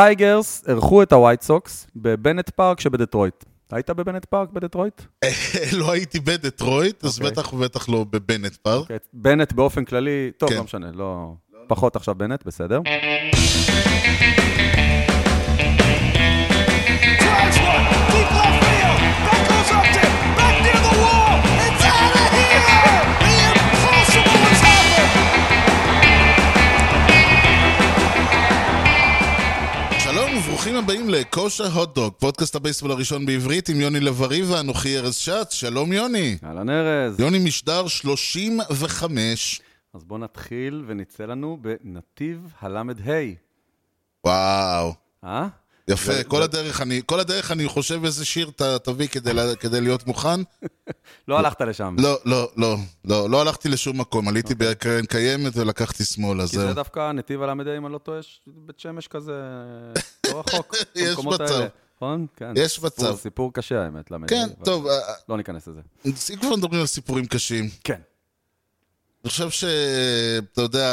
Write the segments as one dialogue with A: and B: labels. A: הטייגרס אירחו את הווייט סוקס בבנט פארק שבדטרויט. היית בבנט פארק בדטרויט?
B: לא הייתי בדטרויט, אז
A: אוקיי.
B: בטח ובטח לא בבנט פארק.
A: כן, בנט באופן כללי, טוב,
B: כן.
A: לא משנה, לא... פחות עכשיו בנט, בסדר.
C: Drives one, deep left field. That goes up to, back near the wall. It's out of here. The impossible has happened.
B: שלום וברוכים הבאים לכושר הוטדוג, פודקאסט הבייסבול הראשון בעברית עם יוני לב-ארי ואנוכי ארז שץ. שלום יוני.
A: אהלן ארז.
B: יוני משדר 35.
A: אז בוא נתחיל ונצא לנו בנתיב הל"ה.
B: וואו.
A: אה?
B: יפה,
A: זה-
B: כל
A: זה-
B: הדרך אני, כל הדרך אני חושב איזה שיר ת, תביא כדי, לה- כדי להיות מוכן.
A: לא הלכת לשם.
B: לא, לא, לא, לא, לא הלכתי לשום מקום, עליתי בקרן קיימת ולקחתי שמאלה,
A: אוקיי. כי זה
B: זהו.
A: דווקא נתיב הל"ה, אם אני לא טועה, יש בית שמש כזה, לא רחוק.
B: יש
A: במקומות
B: מצב.
A: האלה. נכון? כן.
B: יש
A: סיפור-
B: מצב.
A: סיפור קשה, האמת, ל"ה.
B: כן,
A: אבל
B: טוב, אה,
A: לא ניכנס לזה.
B: אה, אם כבר מדברים על סיפורים קשים,
A: כן.
B: אני חושב ש... אתה יודע,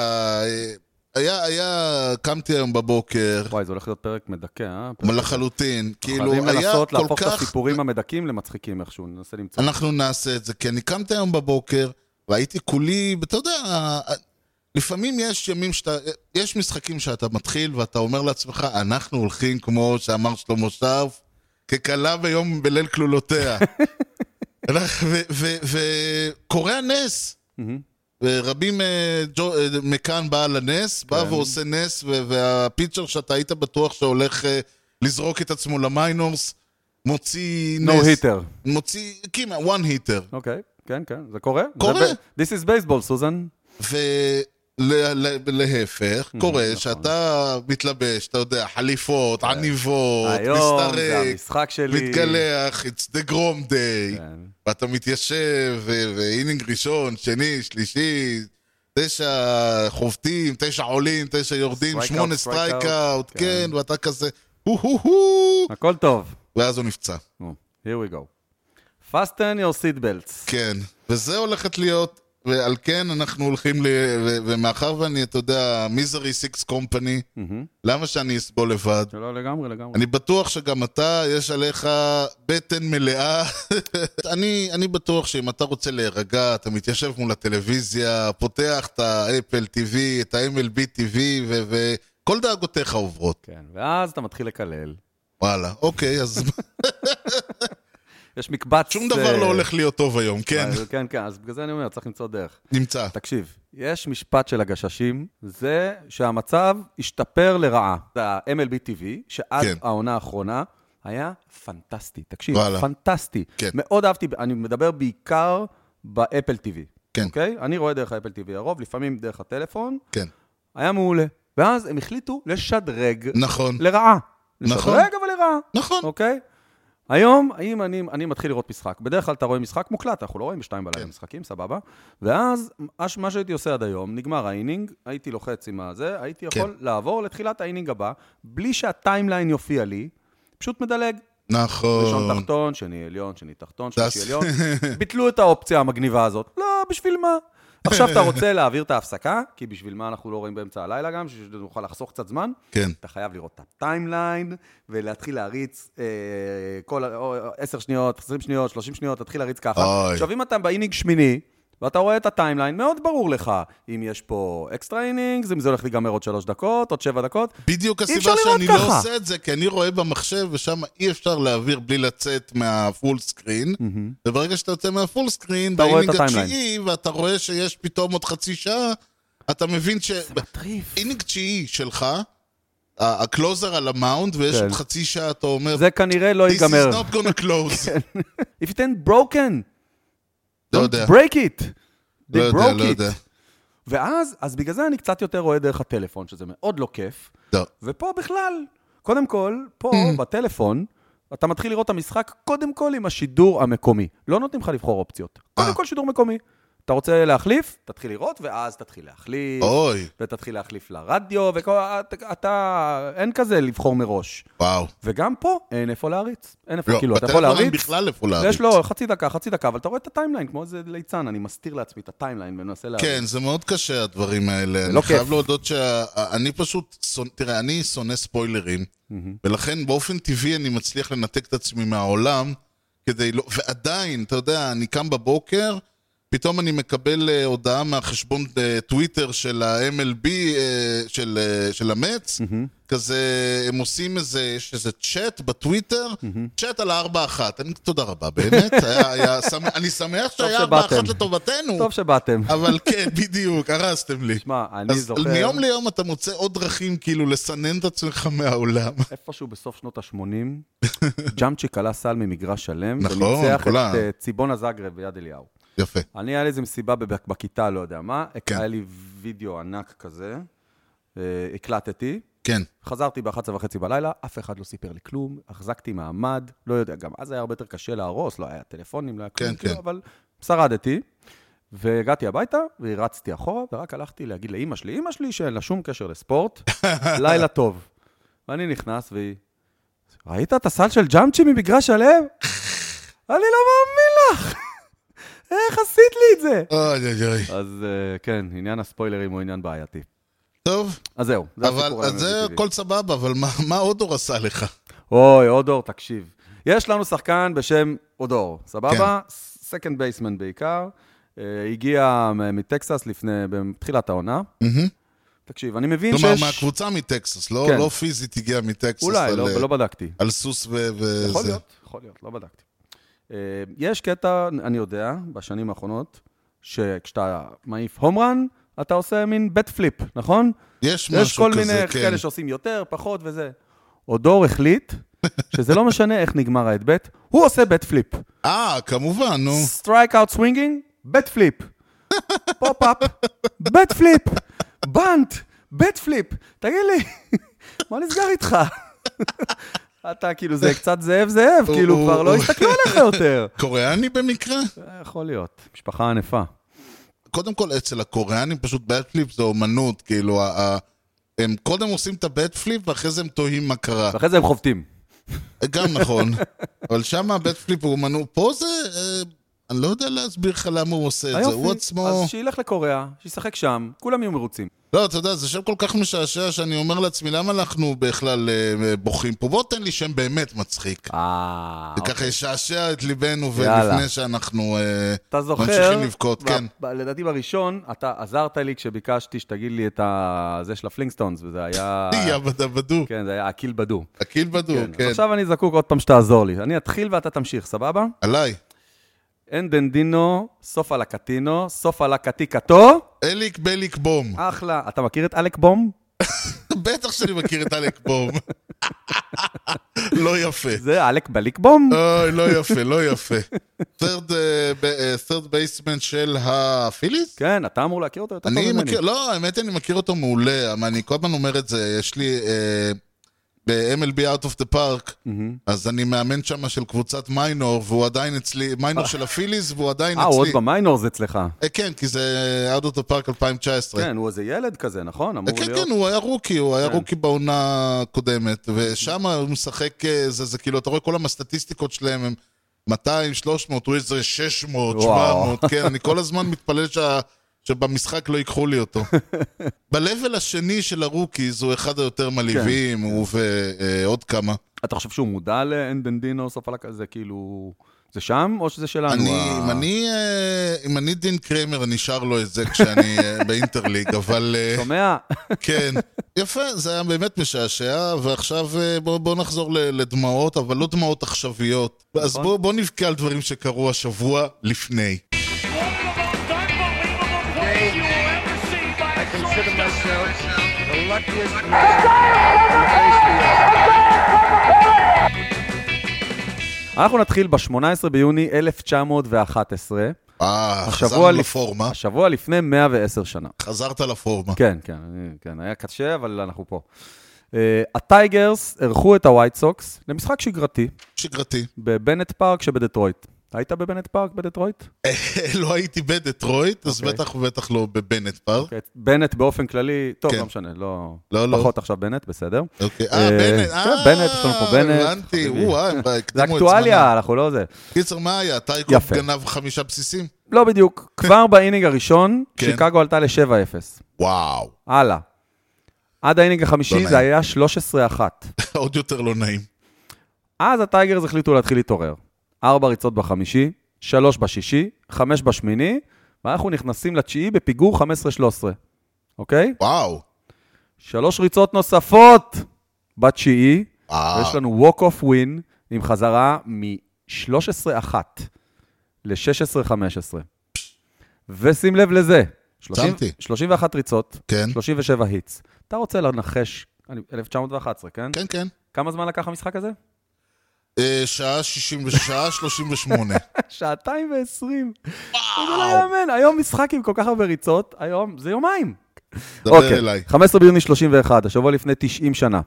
B: אה, היה, היה, קמתי היום בבוקר,
A: וואי, זה הולך להיות פרק מדכא, אה? פרק-
B: לחלוטין, כאילו,
A: חייבים
B: היה
A: לנסות
B: כל
A: להפוך את
B: כך...
A: הסיפורים המדכאים למצחיקים איכשהו, ננסה למצוא.
B: אנחנו נעשה את זה, כי אני קמתי היום בבוקר, והייתי כולי, אתה יודע, לפעמים יש ימים שאתה, יש משחקים שאתה מתחיל ואתה אומר לעצמך, אנחנו הולכים, כמו שאמר שלמה שרף, ככלה ביום, בליל כלולותיה. וקורה הנס.
A: מהמם.
B: ורבים אה, ג'ו- אה, מכאן בא על הנס, בא
A: כן.
B: ועושה נס, ו- והפיצ'ר שאתה היית בטוח שהולך אה, לזרוק את עצמו למיינורס, מוציא נס.
A: נו היטר.
B: מוציא, כמעט, one hitter.
A: אוקיי, כן, כן, זה קורה. זה
B: קורה.
A: ב- This is baseball, סוזן.
B: ולהפך, קורה
A: נכון. כן.
B: שאתה מתלבש, אתה יודע, חליפות, עניבות,
A: היום זה
B: מסתרק,
A: המשחק שלי.
B: מתגלח, it's the גרום day,
A: כן.
B: ואתה מתיישב, ו- ואינינג ראשון, שני, שלישי, תשע חובטים, תשע עולים, תשע יורדים,
A: Strikeout,
B: שמונה
A: strikeout,
B: סטרייקאוט, כן,
A: כן.
B: ואתה כזה, הו הו הו,
A: הכל טוב.
B: ואז הוא נפצע.
A: נו, here we go. fasten your seat belts.
B: כן, וזה הולכת להיות, ועל כן אנחנו הולכים ל... ו- ומאחר ואני, אתה יודע, מיזרי סיקס קומפני,
A: מהמם.
B: למה שאני אסבול לבד?
A: לא, לגמרי, לגמרי.
B: אני בטוח שגם אתה, יש עליך בטן מלאה. אני, אני בטוח שאם אתה רוצה להירגע, אתה מתיישב מול הטלוויזיה, פותח את האפל TV, את ה-MLB TV, וכל דאגותיך עוברות.
A: כן, ואז אתה מתחיל לקלל.
B: וואלה, אוקיי, אז
A: יש מקבץ...
B: שום דבר
A: אה,
B: לא הולך להיות טוב היום, כן,
A: אה, כן, כן, אז בגלל זה אני אומר, צריך למצוא דרך.
B: נמצא.
A: תקשיב, יש משפט של הגששים, זה שהמצב השתפר לרעה. ה-MLB TV, שעד
B: כן.
A: העונה האחרונה היה פנטסטי. תקשיב,
B: וואלה.
A: פנטסטי.
B: כן.
A: מאוד אהבתי, אני מדבר בעיקר באפל TV.
B: כן.
A: אוקיי? אני רואה דרך האפל TV הרוב, לפעמים דרך הטלפון,
B: כן,
A: היה מעולה. ואז הם החליטו לשדרג
B: נכון,
A: לרעה.
B: נכון.
A: לשדרג אבל לרעה.
B: נכון.
A: אוקיי? היום, אם אני, אני מתחיל לראות משחק, בדרך כלל אתה רואה משחק מוקלט, אנחנו לא רואים בשתיים בלילה
B: כן.
A: משחקים, סבבה? ואז, אש- מה שהייתי עושה עד היום, נגמר האינינג, הייתי לוחץ עם הזה, הייתי
B: כן.
A: יכול לעבור לתחילת האינינג הבא, בלי שהטיימליין יופיע לי, פשוט מדלג. ראשון
B: נכון.
A: תחתון, שני עליון, שני תחתון,
B: תעש-
A: שלישי עליון. ביטלו את האופציה המגניבה הזאת. לא, בשביל מה? עכשיו אתה רוצה להעביר את ההפסקה, כי בשביל מה אנחנו לא רואים באמצע הלילה גם, בשביל שנוכל לחסוך קצת זמן,
B: כן.
A: אתה חייב לראות את הטיימליין, ולהתחיל להריץ אה, כל ה- או- או- 10 שניות, 20 שניות, 30 שניות, תתחיל להריץ ככה.
B: אוי.
A: עכשיו, אם אתה באינינג שמיני, ואתה רואה את הטיימליין, מאוד ברור לך אם יש פה אקסטרה אינינגס, אם זה הולך להיגמר עוד 3 דקות, עוד 7 דקות.
B: בדיוק
A: אי
B: הסיבה
A: אפשר לראות
B: שאני לא
A: ככה.
B: עושה את זה, כי אני רואה במחשב ושם אי אפשר להעביר בלי לצאת מהפול סקרין, וברגע שאתה יוצא מהפול סקרין,
A: אתה רואה את
B: באינינג
A: הטיימליין.
B: התשיעי, ואתה רואה שיש פתאום עוד חצי שעה, אתה מבין ש...
A: זה מטריף.
B: אינינג תשיעי שלך, ה- הקלוזר על המאונד, ויש
A: כן.
B: עוד חצי שעה, אתה אומר,
A: זה כנראה לא
B: This
A: ייגמר.
B: is not gonna close.
A: If it ain't broken,
B: לא
A: don't
B: יודע,
A: break it. They
B: לא יודע,
A: broke
B: לא
A: it.
B: יודע.
A: ואז, אז בגלל זה אני קצת יותר רואה דרך הטלפון, שזה מאוד לא כיף.
B: לא.
A: ופה בכלל, קודם כל, פה
B: Mm.
A: בטלפון, אתה מתחיל לראות את המשחק קודם כל עם השידור המקומי. לא נותנים לך לבחור אופציות.
B: אה.
A: קודם כל שידור מקומי. אתה רוצה להחליף? תתחיל לראות, ואז תתחיל להחליף,
B: אוי,
A: ותתחיל להחליף לרדיו, וכל... אתה- אתה... אין כזה לבחור מראש.
B: וואו.
A: וגם פה אין איפה להריץ. אין איפה,
B: לא,
A: כאילו, אתה יכול
B: בטלפון אין
A: להריץ,
B: בכלל איפה להריץ.
A: יש לו חצי דקה, חצי דקה, אבל אתה רואה את הטיימליין, כמו איזה ליצן, אני מסתיר לעצמי את הטיימליין ומנסה להריץ.
B: כן, זה מאוד קשה, הדברים האלה.
A: לא
B: אני
A: כיף.
B: חייב להודות שאני פשוט... שונא- תראה, אני שונא ספוילרים, ולכן באופן טבעי אני מצליח לנתק את עצמי מהעולם, כדי לא... ועדיין, אתה יודע, אני קם בבוקר, פתאום אני מקבל אה, הודעה מהחשבון אה, טוויטר של ה-MLB, אה, של, אה, של המץ, כזה, הם עושים איזה, יש איזה צ'אט בטוויטר, צ'אט על הארבע אחת. אני- תודה רבה, באמת. היה- היה שמח- אני שמח שהיה ארבע
A: שבאתם.
B: אחת לטובתנו.
A: טוב שבאתם.
B: אבל כן, בדיוק, הרסתם לי.
A: שמע, אני
B: אז
A: זוכר,
B: מיום ליום אתה מוצא עוד דרכים כאילו לסנן את עצמך מהעולם.
A: איפשהו בסוף שנות ה-80, ג'אמצ'יק עלה סל ממגרש שלם,
B: נכון,
A: וניצח את
B: כולם.
A: אה, ציבונה זגרב ביד אליהו.
B: יפה.
A: אני, היה לי איזה מסיבה בב- בכיתה, לא יודע מה,
B: כן.
A: היה לי וידאו ענק כזה, אה, הקלטתי,
B: כן,
A: חזרתי ב-11 וחצי בלילה, אף אחד לא סיפר לי כלום, החזקתי מעמד, לא יודע, גם אז היה הרבה יותר קשה להרוס, לא היה טלפונים, לא היה כלום,
B: כן,
A: כאילו,
B: כן.
A: אבל שרדתי, והגעתי הביתה, ורצתי אחורה, ורק הלכתי להגיד לאימא שלי, אימא שלי שאין לה שום קשר לספורט, לילה טוב. ואני נכנס, והיא, ראית את הסל של ג'אמצ'י ממגרש שלם? אני לא מאמין לך! איך עשית לי את זה?
B: אוי אוי אוי.
A: אז אה, כן, עניין הספוילרים הוא עניין בעייתי.
B: טוב,
A: אז זהו, זה הסיפור
B: אבל אז
A: היום
B: זה
A: ב-BTV.
B: הכל סבבה, אבל מה- מה אודור עשה לך?
A: אוי, אודור, תקשיב. יש לנו שחקן בשם אודור, סבבה?
B: כן.
A: סקנד בייסמן בעיקר. אה, הגיע מ- מטקסס לפני, בתחילת העונה. תקשיב, אני מבין
B: כלומר,
A: שיש...
B: מהקבוצה מטקסס, לא
A: כן.
B: לא פיזית הגיע מטקסס.
A: אולי,
B: אבל,
A: לא
B: אה,
A: לא בדקתי.
B: על סוס ו- וזה.
A: יכול להיות, יכול להיות, לא בדקתי. אה, יש קטע, אני יודע, בשנים האחרונות, שכשאתה מעיף הומרן, אתה עושה מין בט פליפ, נכון?
B: יש
A: יש
B: משהו
A: כל מיני
B: כזה, כן.
A: כאלה שעושים יותר, פחות וזה. אודור החליט שזה לא משנה איך נגמר ההדבט, הוא עושה בט פליפ.
B: אה, כמובן, נו.
A: סטרייק אאוט סווינגינג, בט פליפ. פופ-אפ, בט פליפ. בנט, בט פליפ. תגיד לי, מה נסגר איתך? אתה כאילו, זה קצת זאב זאב,
B: הוא-
A: כאילו
B: הוא-
A: כבר לא
B: הוא-
A: יסתכלו עליך יותר.
B: קוריאני במקרה?
A: אה, יכול להיות, משפחה ענפה.
B: קודם כל, אצל הקוריאנים פשוט בטפליפ זה אומנות, כאילו, ה- ה- הם קודם עושים את הבטפליפ ואחרי זה הם תוהים מה קרה.
A: ואחרי זה הם חובטים.
B: גם נכון, אבל שם הבית פליפ הוא מנוע, פה זה, אה, אני לא יודע להסביר לך למה הוא עושה את זה, הוא
A: היופי,
B: עצמו,
A: אז שילך לקוריאה, שישחק שם, כולם יהיו מרוצים.
B: לא, אתה יודע, זה שם כל כך משעשע שאני אומר לעצמי, למה אנחנו בכלל אה, בוכים פה? בוא תן לי שם באמת מצחיק.
A: אה,
B: זה ככה ישעשע את ליבנו,
A: יאללה.
B: ולפני שאנחנו אה,
A: אתה זוכר,
B: ממשיכים לבכות,
A: ב-
B: כן.
A: ב- לדעתי בראשון, אתה עזרת לי כשביקשתי שתגיד לי את ה- זה של הפלינגסטונס, וזה היה...
B: יא בדה בדו,
A: כן, זה היה הקיל בדו.
B: הקיל בדו,
A: כן.
B: כן,
A: עכשיו אני זקוק עוד פעם שתעזור לי. אני אתחיל ואתה תמשיך, סבבה?
B: עליי.
A: אין דנדינו, סוף על הקטינו, סוף על הקטיקתו,
B: אליק בליק בום.
A: אחלה. אתה מכיר את אלק בום?
B: בטח שאני מכיר את אלק בום. לא יפה.
A: זה אלק בליק בום.
B: אוי, לא יפה, לא יפה. third, אה, ב- אה, third basement של הפיליס?
A: כן, אתה אמור להכיר אותו יותר טוב
B: אני
A: ממני.
B: מכיר, לא, האמת היא, אני מכיר אותו מעולה, אבל אני כל הזמן אומר את זה, יש לי אה, ב-MLB Out of the Park, אז אני מאמן שם של קבוצת מיינור, והוא עדיין אצלי, מיינור של הפיליס, והוא עדיין
A: אה, הוא עוד
B: אצלי.
A: במיינורס אצלך.
B: אה, כן, כי זה Out of the Park 2019.
A: כן, הוא איזה ילד כזה, נכון? אמור
B: כן,
A: להיות.
B: כן, הוא היה רוקי, הוא היה
A: כן.
B: רוקי בעונה הקודמת, ושם הוא משחק, אה, זה זה כאילו, אתה רואה כל הסטטיסטיקות שלהם הם 200, 300, הוא איזה 600,
A: וואו.
B: 700, כן, אני כל הזמן מתפלל שה- שבמשחק לא ייקחו לי אותו. ב-level השני של הרוקיז הוא אחד היותר מלהיבים,
A: כן.
B: הוא ועוד כמה.
A: אתה חושב שהוא מודע לאין דנדינו, סוף על הקטיקתו? זה כאילו... זה שם, או שזה שלנו?
B: אני,
A: ה-
B: אם אני, אה, אם אני דין קרמר, אני שר לו את זה כשאני אה, באינטרליג, אבל... אה,
A: שומע?
B: כן. יפה, זה היה באמת משעשע, ועכשיו אה, בוא, בוא נחזור ל- לדמעות, אבל לא דמעות עכשוויות. אז
A: נכון.
B: בוא, בוא נבכה על דברים שקרו השבוע לפני.
D: I consider myself the luckiest man.
A: אנחנו נתחיל ב-18 ביוני 1911,
B: אה,
A: השבוע
B: חזרנו
A: לפ-
B: לפורמה.
A: השבוע לפני 110 שנה.
B: חזרת לפורמה.
A: כן, כן, אני- כן, היה קשה, אבל אנחנו פה. אה, הטייגרס אירחו את הווייט סוקס למשחק שגרתי
B: שגרתי.
A: בבנט פארק שבדטרויט. היית בבנט פארק בדטרויט?
B: לא הייתי בדטרויט, אז
A: אוקיי.
B: בטח ובטח לא בבנט פארק.
A: כן, בנט באופן כללי, טוב,
B: כן.
A: לא משנה, לא...
B: לא, לא.
A: פחות עכשיו בנט, בסדר.
B: אוקיי, אה, בנט, אה,
A: כן, בנט, יש לנו פה בנט,
B: הבנתי,
A: חביבי.
B: וואי, הם
A: זה
B: הקדימו את זמנם.
A: אקטואליה, אנחנו לא זה.
B: קיצר, מה היה? טייקוף
A: יפה.
B: גנב חמישה בסיסים?
A: לא בדיוק. כבר באינינג הראשון,
B: כן.
A: שיקגו עלתה ל-7-0.
B: וואו,
A: הלאה. עד האינינג
B: לא
A: החמישי
B: נעים.
A: זה היה 13-1.
B: עוד יותר לא נעים.
A: אז הטייגרס החליטו להתחיל להתעורר. ארבע ריצות בחמישי, שלוש בשישי, חמש בשמיני, ואנחנו נכנסים לתשיעי בפיגור 15-13, אוקיי?
B: וואו,
A: שלוש ריצות נוספות בתשיעי,
B: אה.
A: ויש לנו ווק אוף ווין עם חזרה מ-13-1 ל-16-15. ושים לב לזה, 30,
B: שמתי.
A: 31 ריצות,
B: כן.
A: 37 היטס. אתה רוצה לנחש, אני- 1911, כן?
B: כן, כן.
A: כמה זמן לקח המשחק הזה?
B: אה, שעה 60 ושעה 38.
A: שעתיים ועשרים. זה לא יאמן, היום משחק עם כל כך הרבה ריצות, היום זה יומיים. אוקיי.
B: דבר אליי.
A: 15 ביוני 31, השבוע לפני 90 שנה.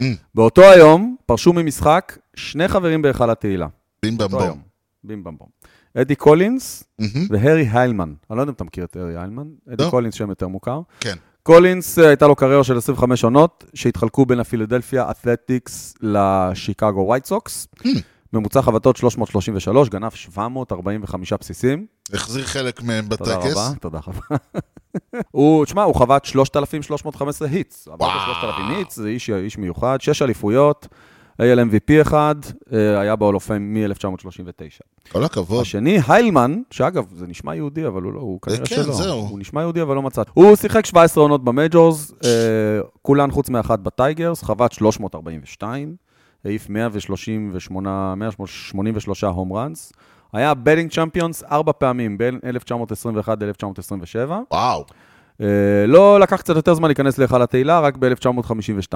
B: Mm.
A: באותו היום פרשו ממשחק שני חברים בהיכל התהילה.
B: בים
A: באותו
B: במבום.
A: היום. בים במבום. אדי קולינס
B: מהמם.
A: והרי היימן. אני לא יודע אם אתה מכיר את הרי היימן, אדי
B: לא.
A: קולינס שם יותר מוכר.
B: כן.
A: קולינס, אה, הייתה לו קריירה של 25 עונות, שהתחלקו בין הפילדלפיה אתלטיקס לשיקגו ווייט סוקס. ממוצע חבטות 333, גנב 745 בסיסים.
B: החזיר חלק מהם
A: תודה
B: בטקס.
A: רבה, תודה רבה. הוא, תשמע, הוא חבט 3,315 היטס. הוא עבר
B: וואו.
A: ב-3,000 היטס, זה איש, איש מיוחד, שש אליפויות, ALMVP אחד, אה, היה בהולופים מ-1939.
B: כל הכבוד.
A: השני, היילמן, שאגב, זה נשמע יהודי, אבל הוא לא, הוא כנראה
B: אוקיי. כן,
A: שלא.
B: זהו.
A: הוא נשמע יהודי, אבל לא מצא. הוא שיחק 17 עונות במייג'ורס, אה, כולן חוץ מאחת בטייגרס, חבט 342, העיף 138, 183 הום ראנס. היה בדינג צ'מפיונס ארבע פעמים, בין 1921 ל-1927.
B: וואו,
A: אה, לא לקח קצת יותר זמן להיכנס להיכל התהילה, רק ב-1952.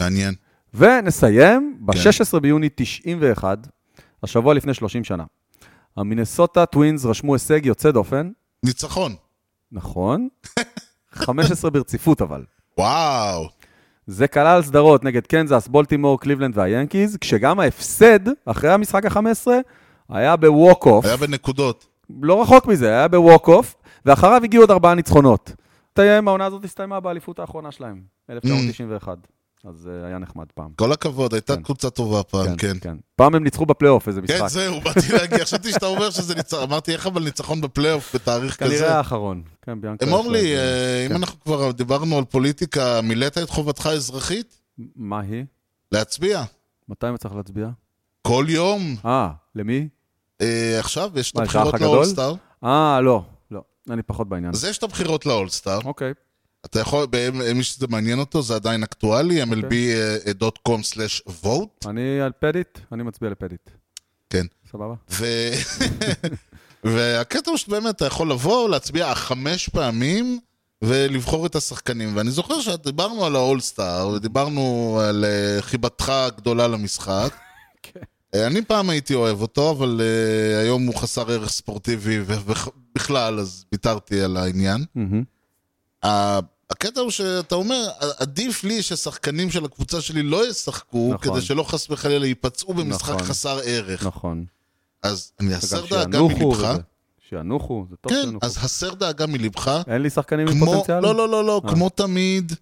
B: מעניין.
A: ונסיים
B: כן.
A: ב-16 ביוני 91, השבוע לפני 30 שנה. המינסוטה טווינס רשמו הישג יוצא דופן,
B: ניצחון.
A: נכון, 15 ברציפות אבל.
B: וואו,
A: זה כלל סדרות נגד קנזס, בולטימור, קליבלנד והיאנקיז, כשגם ההפסד, אחרי המשחק ה-15, היה בווק אוף,
B: היה בנקודות.
A: לא רחוק מזה, היה בווק אוף, ואחריו הגיעו עוד ארבעה ניצחונות. תסתיים, העונה הזאת הסתיימה באליפות האחרונה שלהם,
B: Mm.
A: 1991. אז אה, היה נחמד פעם.
B: כל הכבוד, הייתה
A: כן.
B: קבוצה טובה פעם, כן.
A: פעם הם ניצחו בפלייאוף, איזה משחק.
B: כן, זהו, באתי להגיד, חשבתי שאתה אומר שזה ניצחון, אמרתי איך אבל ניצחון בפלייאוף בתאריך כזה.
A: כנראה האחרון. כן, ביאנקו.
B: אמור לי,
A: יש לו איזה-
B: אה,
A: כן.
B: אם אנחנו כבר דיברנו על פוליטיקה, מילאת את חובתך האזרחית?
A: מה היא?
B: להצביע.
A: מתי אני צריך להצביע?
B: כל יום.
A: אה, למי?
B: אה, עכשיו יש את
A: מה, יש האח
B: הבחירות
A: הגדול?
B: לאולסטאר.
A: אה, לא. לא, אני פחות בעניין.
B: אז יש את הבחירות לאולסטאר.
A: אוקיי.
B: אתה יכול, בהם- מי שזה מעניין אותו, זה עדיין אקטואלי, אה, mlb.com/vote.
A: אני על פדיט, אני מצביע לפדיט.
B: כן.
A: סבבה?
B: ו- והקטע הוא שבאמת, אתה יכול לבוא, להצביע חמש פעמים ולבחור את השחקנים. ואני זוכר שדיברנו על האולסטאר, ודיברנו על אה, חיבתך הגדולה למשחק.
A: כן.
B: אה, אני פעם הייתי אוהב אותו, אבל אה, היום הוא חסר ערך ספורטיבי ובכלל, אז ויתרתי על העניין.
A: מהמם.
B: ה- הקטע הוא שאתה אומר, עדיף לי ששחקנים של הקבוצה שלי לא ישחקו,
A: נכון.
B: כדי שלא חס וחלילה ייפצעו במשחק
A: נכון.
B: חסר ערך.
A: נכון.
B: אז אני אסר
A: וגם
B: דאגה
A: שינוחו
B: מלבך.
A: וזה. שינוחו, זה טוב
B: כן,
A: שינוחו.
B: אז הסר דאגה מלבך.
A: אין לי שחקנים עם
B: כמו,
A: פוטנציאל?
B: לא, לא, לא, לא,
A: אה.
B: כמו תמיד,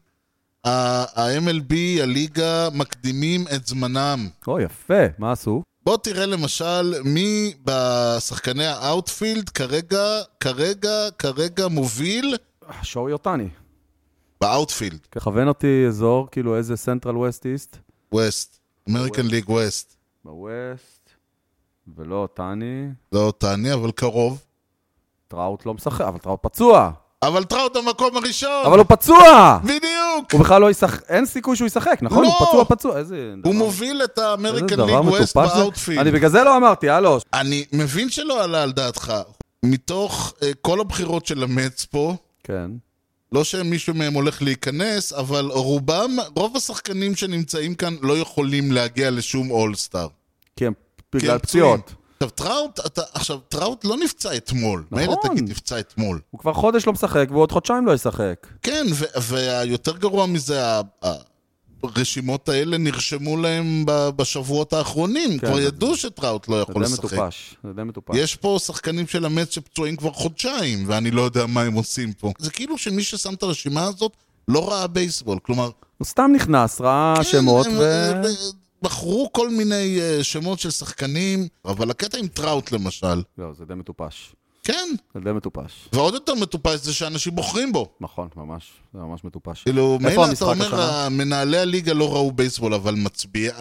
B: ה- ה-MLB, הליגה, מקדימים את זמנם.
A: או, יפה, מה עשו?
B: בוא תראה למשל מי בשחקני האאוטפילד כרגע, כרגע, כרגע מוביל
A: אה, שואוי אותני.
B: באאוטפילד,
A: ככוון אותי אזור, כאילו איזה סנטרל ווסט איסט.
B: ווסט, אמריקן ליג ווסט.
A: בווסט, ולא אותני.
B: לא תעני, אבל קרוב.
A: טראוט לא משחק, אבל טראוט פצוע.
B: אבל טראוט המקום הראשון!
A: אבל הוא פצוע!
B: בדיוק!
A: הוא בכלל לא ישחק, אין סיכוי שהוא ישחק, נכון?
B: לא.
A: הוא פצוע, פצוע, איזה... דבר-
B: הוא מוביל את
A: איזה
B: האמריקן
A: דבר
B: ליג ווסט
A: מטופש זה. אני
B: באאוטפילד.
A: בגלל זה לא אמרתי, הלו.
B: אני מבין שלא עלה על דעתך. מתוך אה, כל הבחירות של המץ פה,
A: כן,
B: לא שמישהו מהם הולך להיכנס, אבל רובם, רוב השחקנים שנמצאים כאן לא יכולים להגיע לשום אולסטאר.
A: כי הם
B: כי הם
A: בגלל
B: פצועים.
A: פציעות.
B: עכשיו טראוט, אתה, עכשיו טראוט לא נפצע אתמול.
A: נכון.
B: מילא תגיד נפצע אתמול.
A: הוא כבר חודש לא משחק, והוא עוד חודשיים לא ישחק.
B: כן, ו- והיותר גרוע מזה, ה- ה- הרשימות האלה נרשמו להם ב- בשבועות האחרונים.
A: כן,
B: כבר
A: זה-
B: ידעו שטראוט לא
A: זה
B: יכול
A: די
B: לשחק.
A: מטופש, זה די מטופש.
B: יש פה שחקנים של המץ שפצועים כבר חודשיים, ואני לא יודע מה הם עושים פה. זה כאילו שמי ששם את הרשימה הזאת לא ראה בייסבול. כלומר,
A: הוא סתם נכנס, ראה שמות,
B: כן, הם,
A: ו...
B: הם, בחרו כל מיני אה, שמות של שחקנים, אבל הקטע עם טראוט למשל,
A: לא, זה די מטופש.
B: כן.
A: זה די מטופש.
B: ועוד יותר מטופש זה שאנשים בוחרים בו.
A: נכון, ממש. זה ממש מטופש.
B: כאילו,
A: איפה
B: מילא אתה
A: המשחק
B: אומר,
A: השנה?
B: מנהלי הליגה לא ראו בייסבול, אבל מצביע...